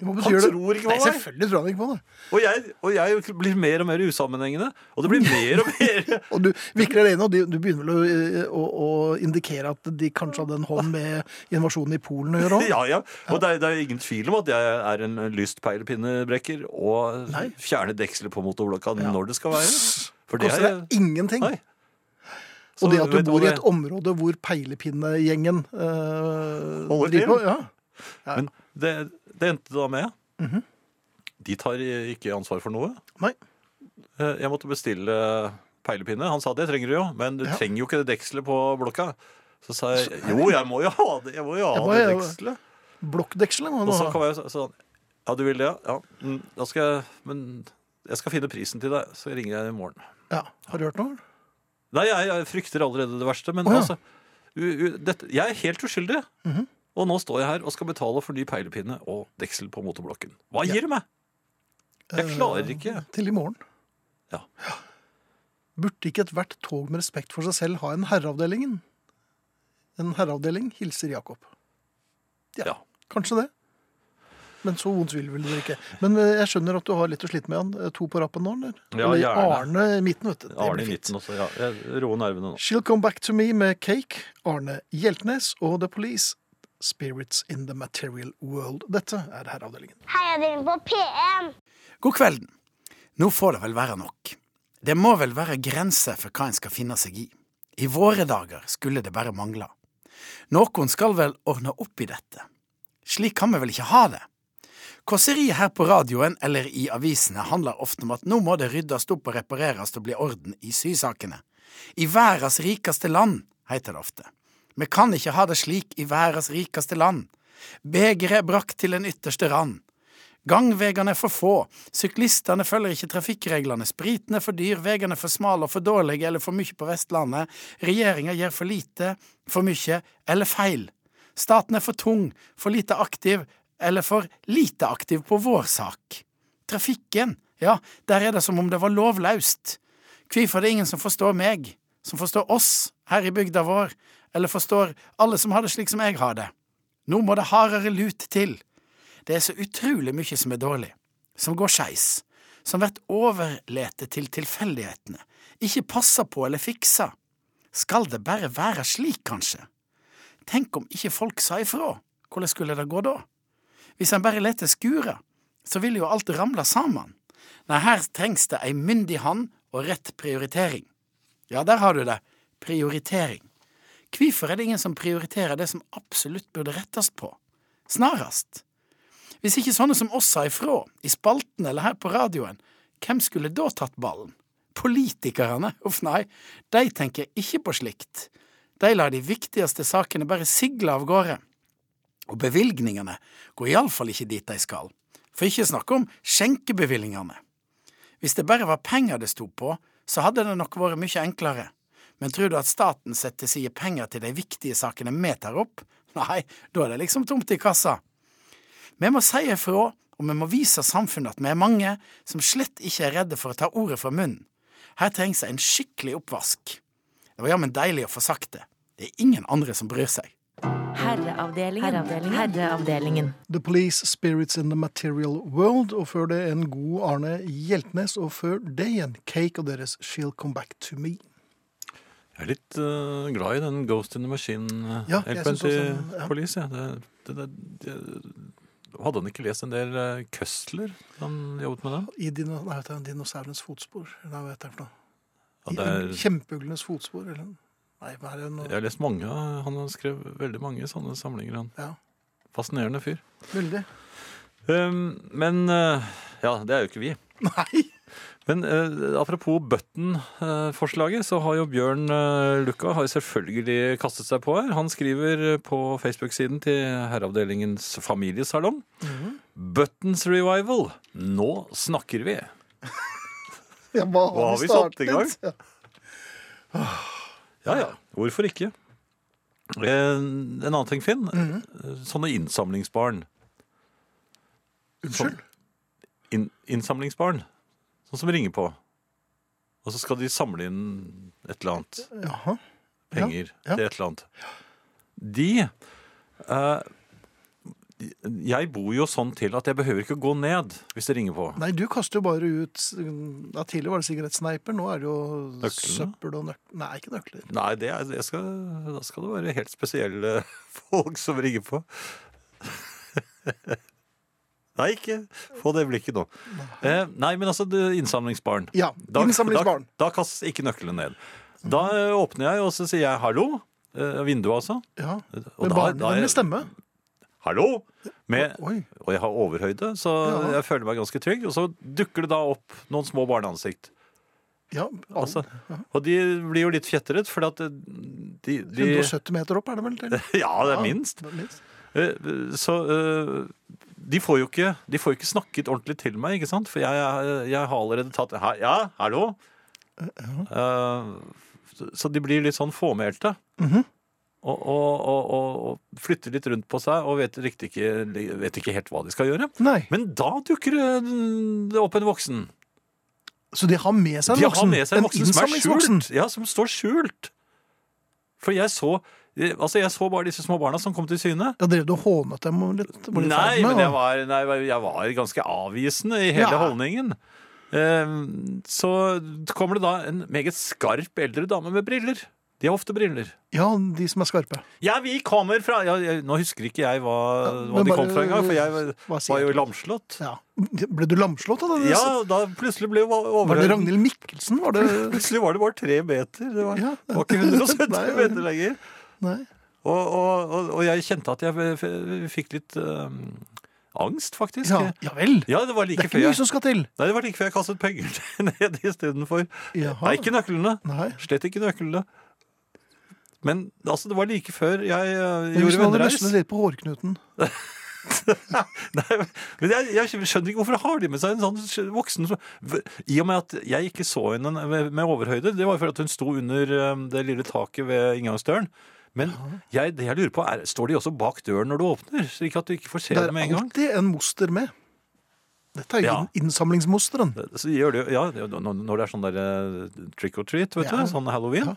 Speaker 3: Hva
Speaker 4: Han
Speaker 3: betyr det?
Speaker 4: tror ikke
Speaker 3: Nei,
Speaker 4: på meg!
Speaker 3: selvfølgelig tror han ikke på det.
Speaker 4: Og jeg, og jeg blir mer og mer usammenhengende.
Speaker 3: [laughs]
Speaker 4: Og det blir mer og mer
Speaker 3: Og du vikler det inn, og de- du begynner vel å, eh, å, å indikere at de kanskje hadde en hånd med invasjonen i Polen å gjøre òg?
Speaker 4: [laughs] Ja, ja. Og det er, det er ingen tvil om at jeg er en lyst peilepinnebrekker og
Speaker 3: Nei.
Speaker 4: fjerner dekselet på motorblokka når det skal være. For det
Speaker 3: Koster
Speaker 4: er
Speaker 3: deg ingenting.
Speaker 4: Nei. Så
Speaker 3: Og det at du
Speaker 4: vet hva
Speaker 3: bor i
Speaker 4: det-
Speaker 3: et område hvor peilepinnegjengen øh,
Speaker 4: Holder til.
Speaker 3: Ja.
Speaker 4: Men det, det endte da med
Speaker 3: Mhm.
Speaker 4: De tar ikke ansvar for noe.
Speaker 3: Nei.
Speaker 4: Eh, Jeg måtte bestille peilepinne. Han sa det trenger du jo, men du
Speaker 3: Ja.
Speaker 4: trenger jo ikke det dekselet på blokka. Så sa jeg jo, jeg må jo ha det, jeg må jo ha
Speaker 3: Jeg må
Speaker 4: det
Speaker 3: jo-
Speaker 4: dekselet.
Speaker 3: Blokkdekselet må du
Speaker 4: Og så
Speaker 3: ha.
Speaker 4: kom jeg så- sånn Ja, du vil det? Ja. Mm, Da skal jeg, men jeg skal finne prisen til deg, så ringer jeg i morgen.
Speaker 3: Ja. Har du hørt noe?
Speaker 4: Nei, jeg, jeg frykter allerede det verste, men
Speaker 3: Å, ja. Mhm.
Speaker 4: altså u, u, dette, Jeg er helt uskyldig. Og nå står jeg her og skal betale for ny peilepinne og deksel på motorblokken. Hva gir det meg? Jeg
Speaker 3: Eh,
Speaker 4: klarer ikke.
Speaker 3: Til i morgen.
Speaker 4: Ja.
Speaker 3: Burde ikke ethvert tog med respekt for seg selv ha en herreavdelingen? En herreavdeling hilser Jakob.
Speaker 4: Ja.
Speaker 3: Kanskje det. Men så vondt vil vel dere ikke. Men eh, jeg skjønner at du har litt å slite med han. Eh, To på rappen nå, eller?
Speaker 4: Ja,
Speaker 3: eller
Speaker 4: gjerne.
Speaker 3: Arne i midten, vet du. Det
Speaker 4: Arne
Speaker 3: blir
Speaker 4: i
Speaker 3: fint.
Speaker 4: midten også. Ja. Jeg roer nervene nå.
Speaker 3: She'll Come Back To Me med Cake, Arne Hjeltnes og The Police. Spirits in the Material World. Dette er Herreavdelingen.
Speaker 2: Heiavdelingen på P1.
Speaker 7: God kvelden. Nå får det vel være nok. Det må vel være grenser for hva en skal finne seg i. I våre dager skulle det bare mangle. Noen skal vel ordne opp i dette. Slik kan vi vel ikke ha det. Kåseriet her på radioen eller i avisene handler ofte om at nå må det ryddes opp og repareres og bli orden i sysakene. I verdens rikeste land, heter det ofte. Vi kan ikke ha det slik i verdens rikeste land. Begeret er brakt til den ytterste rand. Gangvegene er for få, syklistene følger ikke trafikkreglene, spriten er for dyr, vegene er for smale og for dårlige eller for mye på Vestlandet, regjeringa gjør for lite, for mye eller feil. Staten er for tung, for lite aktiv eller for lite aktiv på vår sak. Trafikken, ja, der er det som om det var lovløst. Hvorfor er det ingen som forstår meg, som forstår oss her i bygda vår, eller forstår alle som har det slik som jeg har det? Nå må det hardere lut til. Det er så utrolig mye som er dårlig, som går skeis, som blir overlete til tilfeldighetene, ikke passa på eller fiksa. Skal det bare være slik, kanskje? Tenk om ikke folk sa ifra, hvordan skulle det gå da? Hvis en bare leter skure, så vil jo alt ramle sammen. Nei, her trengs det ei myndig hand og rett prioritering. Ja, der har du det, prioritering. Hvorfor er det ingen som prioriterer det som absolutt burde rettes på? Snarest. Hvis ikke sånne som oss sa ifra, i spalten eller her på radioen, hvem skulle da tatt ballen? Politikerne? Uff nei, de tenker ikke på slikt. De lar de viktigste sakene bare sigle av gårde. Og bevilgningene går iallfall ikke dit de skal, for ikke å snakke om skjenkebevilgningene. Hvis det bare var penger det stod på, så hadde det nok vært mye enklere. Men tror du at staten setter til side penger til de viktige sakene vi tar opp? Nei, da er det liksom tomt i kassa. Vi må si ifra, og vi må vise samfunnet at vi er mange som slett ikke er redde for å ta ordet fra munnen. Her trengs en skikkelig oppvask. Det var jammen deilig å få sagt det. Det er ingen andre som bryr seg.
Speaker 6: Herreavdelingen. Herreavdelingen. Herreavdelingen.
Speaker 3: The Police Spirits in the Material World, og før det en god Arne Hjeltnes, og før det igjen Cake og deres She'll Come Back To Me.
Speaker 4: Jeg er litt eh, glad i den Ghost in the Machine.
Speaker 3: Ja, jeg
Speaker 4: jeg
Speaker 3: synes også- ja.
Speaker 4: Police, ja. det, det, det, det- hadde han ikke lest en del eh, Køstler? Han jobbet med det?
Speaker 3: I dino, nei, vet jeg, dinosaurens fotspor. Nei, hva heter det for noe?
Speaker 4: Ja,
Speaker 3: I
Speaker 4: det er,
Speaker 3: Kjempeuglenes fotspor, eller Nei, hva er det nå?
Speaker 4: jeg har lest mange. av- Han har skrevet veldig mange sånne samlinger. Han.
Speaker 3: Ja,
Speaker 4: Fascinerende fyr.
Speaker 3: veldig. [laughs]
Speaker 4: Um, men eh, Ja, det er jo ikke vi.
Speaker 3: Nei!
Speaker 4: Men eh, apropos Button-forslaget, så har jo Bjørn eh, Lukka har jo selvfølgelig kastet seg på her. Han skriver eh, på Facebook-siden til Herreavdelingens familiesalong Buttons revival. Nå snakker vi.
Speaker 3: Ja, hva har,
Speaker 4: Hva har vi satt i gang? Ja, ja. Hvorfor ikke? Eh, En annen ting, Finn. Eh, Sånne innsamlingsbarn.
Speaker 3: Unnskyld?
Speaker 4: Sånn- inn, innsamlingsbarn. Sånn som ringer på. Og så skal de samle inn et eller annet.
Speaker 3: Jaha.
Speaker 4: penger
Speaker 3: ja.
Speaker 4: til et eller annet. De eh, Jeg bor jo sånn til at jeg behøver ikke å gå ned hvis det ringer på.
Speaker 3: Nei, du kaster jo bare ut ja, Tidligere var det sigarettsneiper, nå er det jo
Speaker 4: Nøklene?
Speaker 3: søppel og nøkler Nei, ikke nøkler.
Speaker 4: Nei, det er, jeg skal, da skal det være helt spesielle [laughs] folk som ringer på. [laughs] Nei, ikke få det blikket nå. Eh, nei, men altså det, innsamlingsbarn.
Speaker 3: Ja, innsamlingsbarn.
Speaker 4: Da, da kastes ikke nøkkelen ned. Da eh, åpner jeg, og så sier jeg hallo. Eh, vinduet, altså.
Speaker 3: Ja.
Speaker 4: Og
Speaker 3: Med
Speaker 4: da-
Speaker 3: barn,
Speaker 4: da er-
Speaker 3: men med stemme.
Speaker 4: Hallo! Med,
Speaker 3: Oi.
Speaker 4: og jeg har overhøyde, så
Speaker 3: Ja.
Speaker 4: jeg føler meg ganske trygg. Og så dukker det da opp noen små barneansikt.
Speaker 3: Ja,
Speaker 4: Altså, og de blir jo litt fjetret, for at eh, de, de
Speaker 3: 170 meter opp er det vel? Til?
Speaker 4: [laughs] Ja, det er minst.
Speaker 3: Ja, minst.
Speaker 4: Eh, Så eh, de får jo ikke, de får jo ikke snakket ordentlig til meg, ikke sant? For jeg, jeg, jeg har allerede tatt «Hæ? Ja, hallo? Eh, så- Så de blir litt sånn fåmælte. Og, og, og, og, og flytter litt rundt på seg og vet, riktig ikke, vet ikke helt hva de skal gjøre.
Speaker 3: Nei.
Speaker 4: Men da dukker eh, det opp en voksen.
Speaker 3: Så de har med seg en
Speaker 4: De
Speaker 3: voksen?
Speaker 4: har med seg en voksen som er
Speaker 3: innsamlingsvoksen?
Speaker 4: skjult. Ja, som står skjult. For jeg så Altså, jeg så bare disse små barna som kom til syne.
Speaker 3: Da drev du og hånet dem og litt? var litt
Speaker 4: Nei,
Speaker 3: ferdig med,
Speaker 4: men jeg
Speaker 3: og-
Speaker 4: var, nei, jeg var ganske avvisende i hele
Speaker 3: Ja.
Speaker 4: holdningen. Ehm, Så kommer det da en meget skarp eldre dame med briller. De har ofte briller.
Speaker 3: Ja, de som er skarpe.
Speaker 4: Ja, vi kommer fra ja, jeg, Nå husker ikke jeg hva,
Speaker 3: Ja,
Speaker 4: hva
Speaker 3: men
Speaker 4: de
Speaker 3: bare-
Speaker 4: kom fra engang, for jeg
Speaker 3: hva sier
Speaker 4: var jo
Speaker 3: du?
Speaker 4: lamslått.
Speaker 3: Ja. Ble du lamslått av det?
Speaker 4: Ja, da plutselig ble jeg
Speaker 3: Var det
Speaker 4: overhørt.
Speaker 3: Ragnhild Mikkelsen? Var det
Speaker 4: Plutselig var det bare tre meter. Det var,
Speaker 3: Ja.
Speaker 4: det var ikke 170
Speaker 3: Nei, nei.
Speaker 4: meter lenger.
Speaker 3: Nei.
Speaker 4: Og, og, og, og jeg kjente at jeg f- f- fikk litt øhm, angst, faktisk.
Speaker 3: Ja, ja vel.
Speaker 4: Ja, det var
Speaker 3: Det
Speaker 4: like
Speaker 3: er ikke
Speaker 4: før
Speaker 3: mye
Speaker 4: jeg
Speaker 3: som skal til.
Speaker 4: Nei, det var like før jeg kastet penger [laughs] ned istedenfor.
Speaker 3: Jaha.
Speaker 4: Nei, ikke nøklene.
Speaker 3: Nei.
Speaker 4: Slett ikke nøklene. Men altså, det var like før jeg øh,
Speaker 3: Men hvis
Speaker 4: gjorde
Speaker 3: du hadde
Speaker 4: vennereis.
Speaker 3: løsnet litt på hårknuten
Speaker 4: [laughs] Nei, men jeg, jeg skjønner ikke hvorfor har de med seg en sånn voksen som I og med at jeg ikke så henne med med overhøyde, det var jo fordi hun sto under eh, det lille taket ved inngangsdøren. Men jeg, det jeg lurer på er, står de også bak døren når du åpner? Slik at du ikke får se
Speaker 3: Det er
Speaker 4: det med en gang?
Speaker 3: alltid en moster med. Dette er jo
Speaker 4: Ja.
Speaker 3: inn- innsamlingsmosteren.
Speaker 4: Så gjør det, jo- ja, det- når når det er sånn der eh, trick or treat, vet
Speaker 3: Ja.
Speaker 4: du, sånn halloween.
Speaker 3: Ja.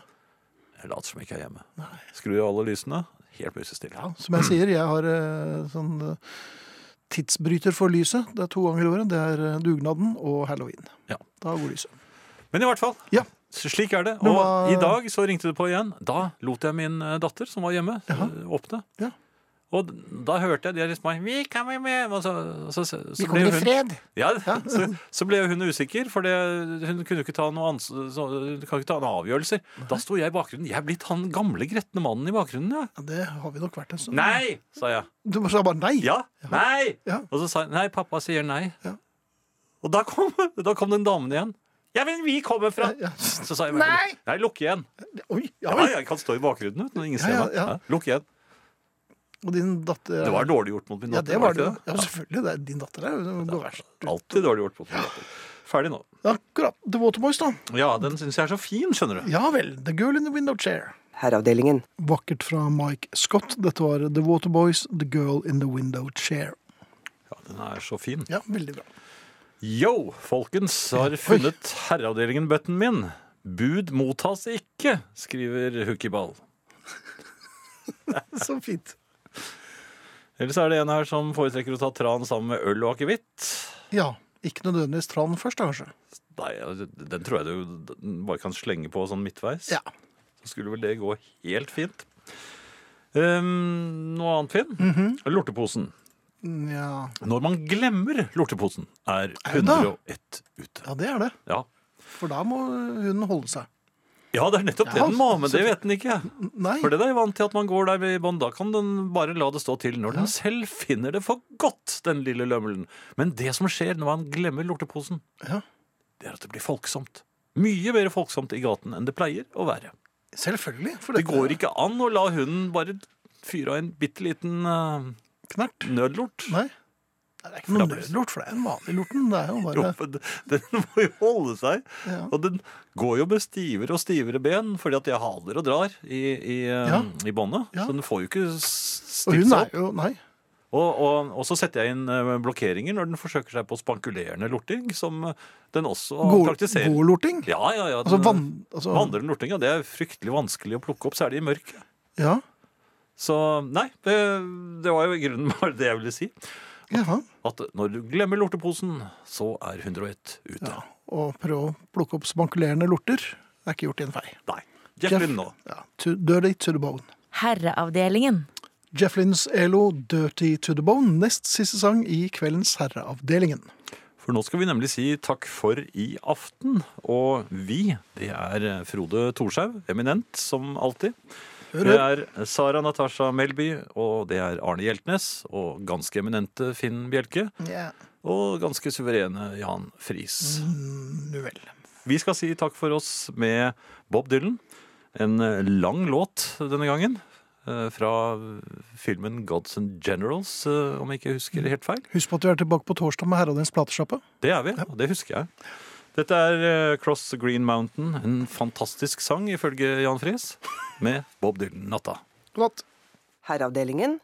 Speaker 4: Jeg later som jeg ikke er hjemme. Skrur av alle lysene. Helt musestille.
Speaker 3: Som jeg sier, jeg har eh, sånn eh, tidsbryter for lyset. Det er to ganger i året. Det er eh, dugnaden og halloween.
Speaker 4: Ja.
Speaker 3: Da går lyset.
Speaker 4: Men i hvert fall,
Speaker 3: Ja.
Speaker 4: Så Slik er det. Og
Speaker 3: Men hva-
Speaker 4: i dag så ringte det på igjen. Da lot jeg min eh, datter, som var hjemme, eh, åpne.
Speaker 3: Ja.
Speaker 4: Og da hørte jeg de liksom bare, Vi kommer med! Og så, og så, så, så ble hun,
Speaker 3: fred. [laughs]
Speaker 4: Ja, så, så ble hun usikker, for det, hun kunne jo ikke ta noen, ans så, hun kan ikke ta noen avgjørelser. Da sto jeg i bakgrunnen. Jeg er blitt han gamle gretne mannen i bakgrunnen, ja.
Speaker 3: Ja, det har vi nok vært en stund.
Speaker 4: Nei! sa jeg.
Speaker 3: Du sa bare nei?
Speaker 4: Ja! Nei!
Speaker 3: Ja.
Speaker 4: Og så sa jeg nei, pappa sier nei.
Speaker 3: Ja.
Speaker 4: Og da kom, [laughs] da kom den damen igjen. Ja, men vi kommer fra
Speaker 3: Ja, [laughs]
Speaker 4: Så sa jeg nei! Nei, lukk igjen.
Speaker 3: Oi, ja,
Speaker 4: Ja,
Speaker 3: vel.
Speaker 4: jeg kan stå i bakgrunnen uten at ingen
Speaker 3: Ja,
Speaker 4: ser
Speaker 3: ja,
Speaker 4: meg.
Speaker 3: ja.
Speaker 4: Ja, Lukk igjen.
Speaker 3: Og din datter
Speaker 4: Det var dårlig gjort mot min
Speaker 3: Ja,
Speaker 4: datter.
Speaker 3: det var det.
Speaker 4: ikke
Speaker 3: Ja, selvfølgelig. Det er din datter er jo går verst.
Speaker 4: Alltid dårlig gjort mot min datter. ferdig nå.
Speaker 3: Akkurat. The Waterboys, da.
Speaker 4: Ja, den syns jeg er så fin, skjønner du.
Speaker 3: Ja vel. The Girl in the Window Chair.
Speaker 5: Herreavdelingen.
Speaker 3: Vakkert fra Mike Scott. Dette var The Waterboys, The Girl in the Window Chair.
Speaker 4: Ja, den er så fin.
Speaker 3: Ja, veldig bra.
Speaker 4: Yo, folkens, har funnet herreavdelingen-button min. Bud mottas ikke, skriver Hukkiball.
Speaker 3: [laughs] Så fint.
Speaker 4: Eller så er det en her som foretrekker å ta tran sammen med øl og akevitt.
Speaker 3: Ja. Ikke nødvendigvis tran først, da, kanskje.
Speaker 4: Nei, altså, den tror jeg du bare kan slenge på sånn midtveis.
Speaker 3: Ja.
Speaker 4: Så skulle vel det gå helt fint. Ehm, noe annet, Finn?
Speaker 3: Mhm.
Speaker 4: Lorteposen.
Speaker 3: ja.
Speaker 4: Når man glemmer lorteposen, er
Speaker 3: Er det da?
Speaker 4: 101 ute.
Speaker 3: Ja, det er det.
Speaker 4: Ja.
Speaker 3: For da må hunden holde seg.
Speaker 4: ja, det er nettopp det
Speaker 3: Ja,
Speaker 4: den må, men det
Speaker 3: så-
Speaker 4: vet den ikke.
Speaker 3: Nei.
Speaker 4: For det er jeg vant til at man går der i bånd. Da kan den bare la det stå til når den selv finner det for godt, den lille lømmelen. Men det som skjer når man glemmer lorteposen,
Speaker 3: Ja.
Speaker 4: det er at det blir folksomt. Mye mer folksomt i gaten enn det pleier å være.
Speaker 3: Selvfølgelig. For
Speaker 4: Det går ikke an å la hunden bare fyre av en bitte liten eh,
Speaker 3: Knert.
Speaker 4: nødlort.
Speaker 3: Nei. Nei, Det er ikke noen nødlort, for det er den vanlige lorten. Det er jo
Speaker 4: [laughs] Jo,
Speaker 3: bare
Speaker 4: men den må jo holde seg.
Speaker 3: Ja.
Speaker 4: Og den går jo med stivere og stivere ben, fordi at jeg haler og drar i, i, eh,
Speaker 3: Ja.
Speaker 4: i båndet.
Speaker 3: Ja.
Speaker 4: Så den får jo ikke s-
Speaker 3: Og
Speaker 4: stilt
Speaker 3: hun
Speaker 4: seg
Speaker 3: er
Speaker 4: opp.
Speaker 3: jo Nei.
Speaker 4: Og, og, og så setter jeg inn eh, blokkeringer når den forsøker seg på spankulerende lorting, som eh, den også
Speaker 3: Går-
Speaker 4: praktiserer.
Speaker 3: Gålorting?
Speaker 4: Ja, ja, ja.
Speaker 3: Altså
Speaker 4: den- eh,
Speaker 3: vann... Altså,
Speaker 4: Vandrende lorting, ja. Det er fryktelig vanskelig å plukke opp, særlig i mørket.
Speaker 3: Ja.
Speaker 4: Så nei, det, det var jo i grunnen [laughs] bare det jeg ville si.
Speaker 3: ja.
Speaker 4: At når du glemmer lorteposen, så er 101 ute.
Speaker 3: ja. Og prøv å plukke opp spankulerende lorter. Det er ikke gjort i en fei.
Speaker 4: Nei. Jeff Lynne nå.
Speaker 3: Ja. To, dirty to the bone.
Speaker 6: Herreavdelingen.
Speaker 3: Jeff Lynns ELO 'Dirty to the Bone', nest siste sang i kveldens Herreavdelingen.
Speaker 4: For nå skal vi nemlig si takk for i aften. Og vi, det er Frode Thorshaug, eminent som alltid. Det er Sara Natasha Melby, og det er Arne Hjeltnes. Og ganske eminente Finn Bjelke.
Speaker 3: Ja,
Speaker 4: Og ganske suverene Jan Friis.
Speaker 3: nu vel.
Speaker 4: Vi skal si takk for oss med Bob Dylan. En eh, lang låt denne gangen. eh, Fra filmen 'Gods and Generals', eh, om jeg ikke husker helt feil.
Speaker 3: Husk på at vi er tilbake på torsdag med Herreavdelingens platesjappe.
Speaker 4: Det er vi, og det husker jeg. Dette er eh, 'Cross the Green Mountain', en fantastisk sang ifølge Jan Friis, med Bob Dylan-natta.
Speaker 3: God natt.
Speaker 5: Herreavdelingen.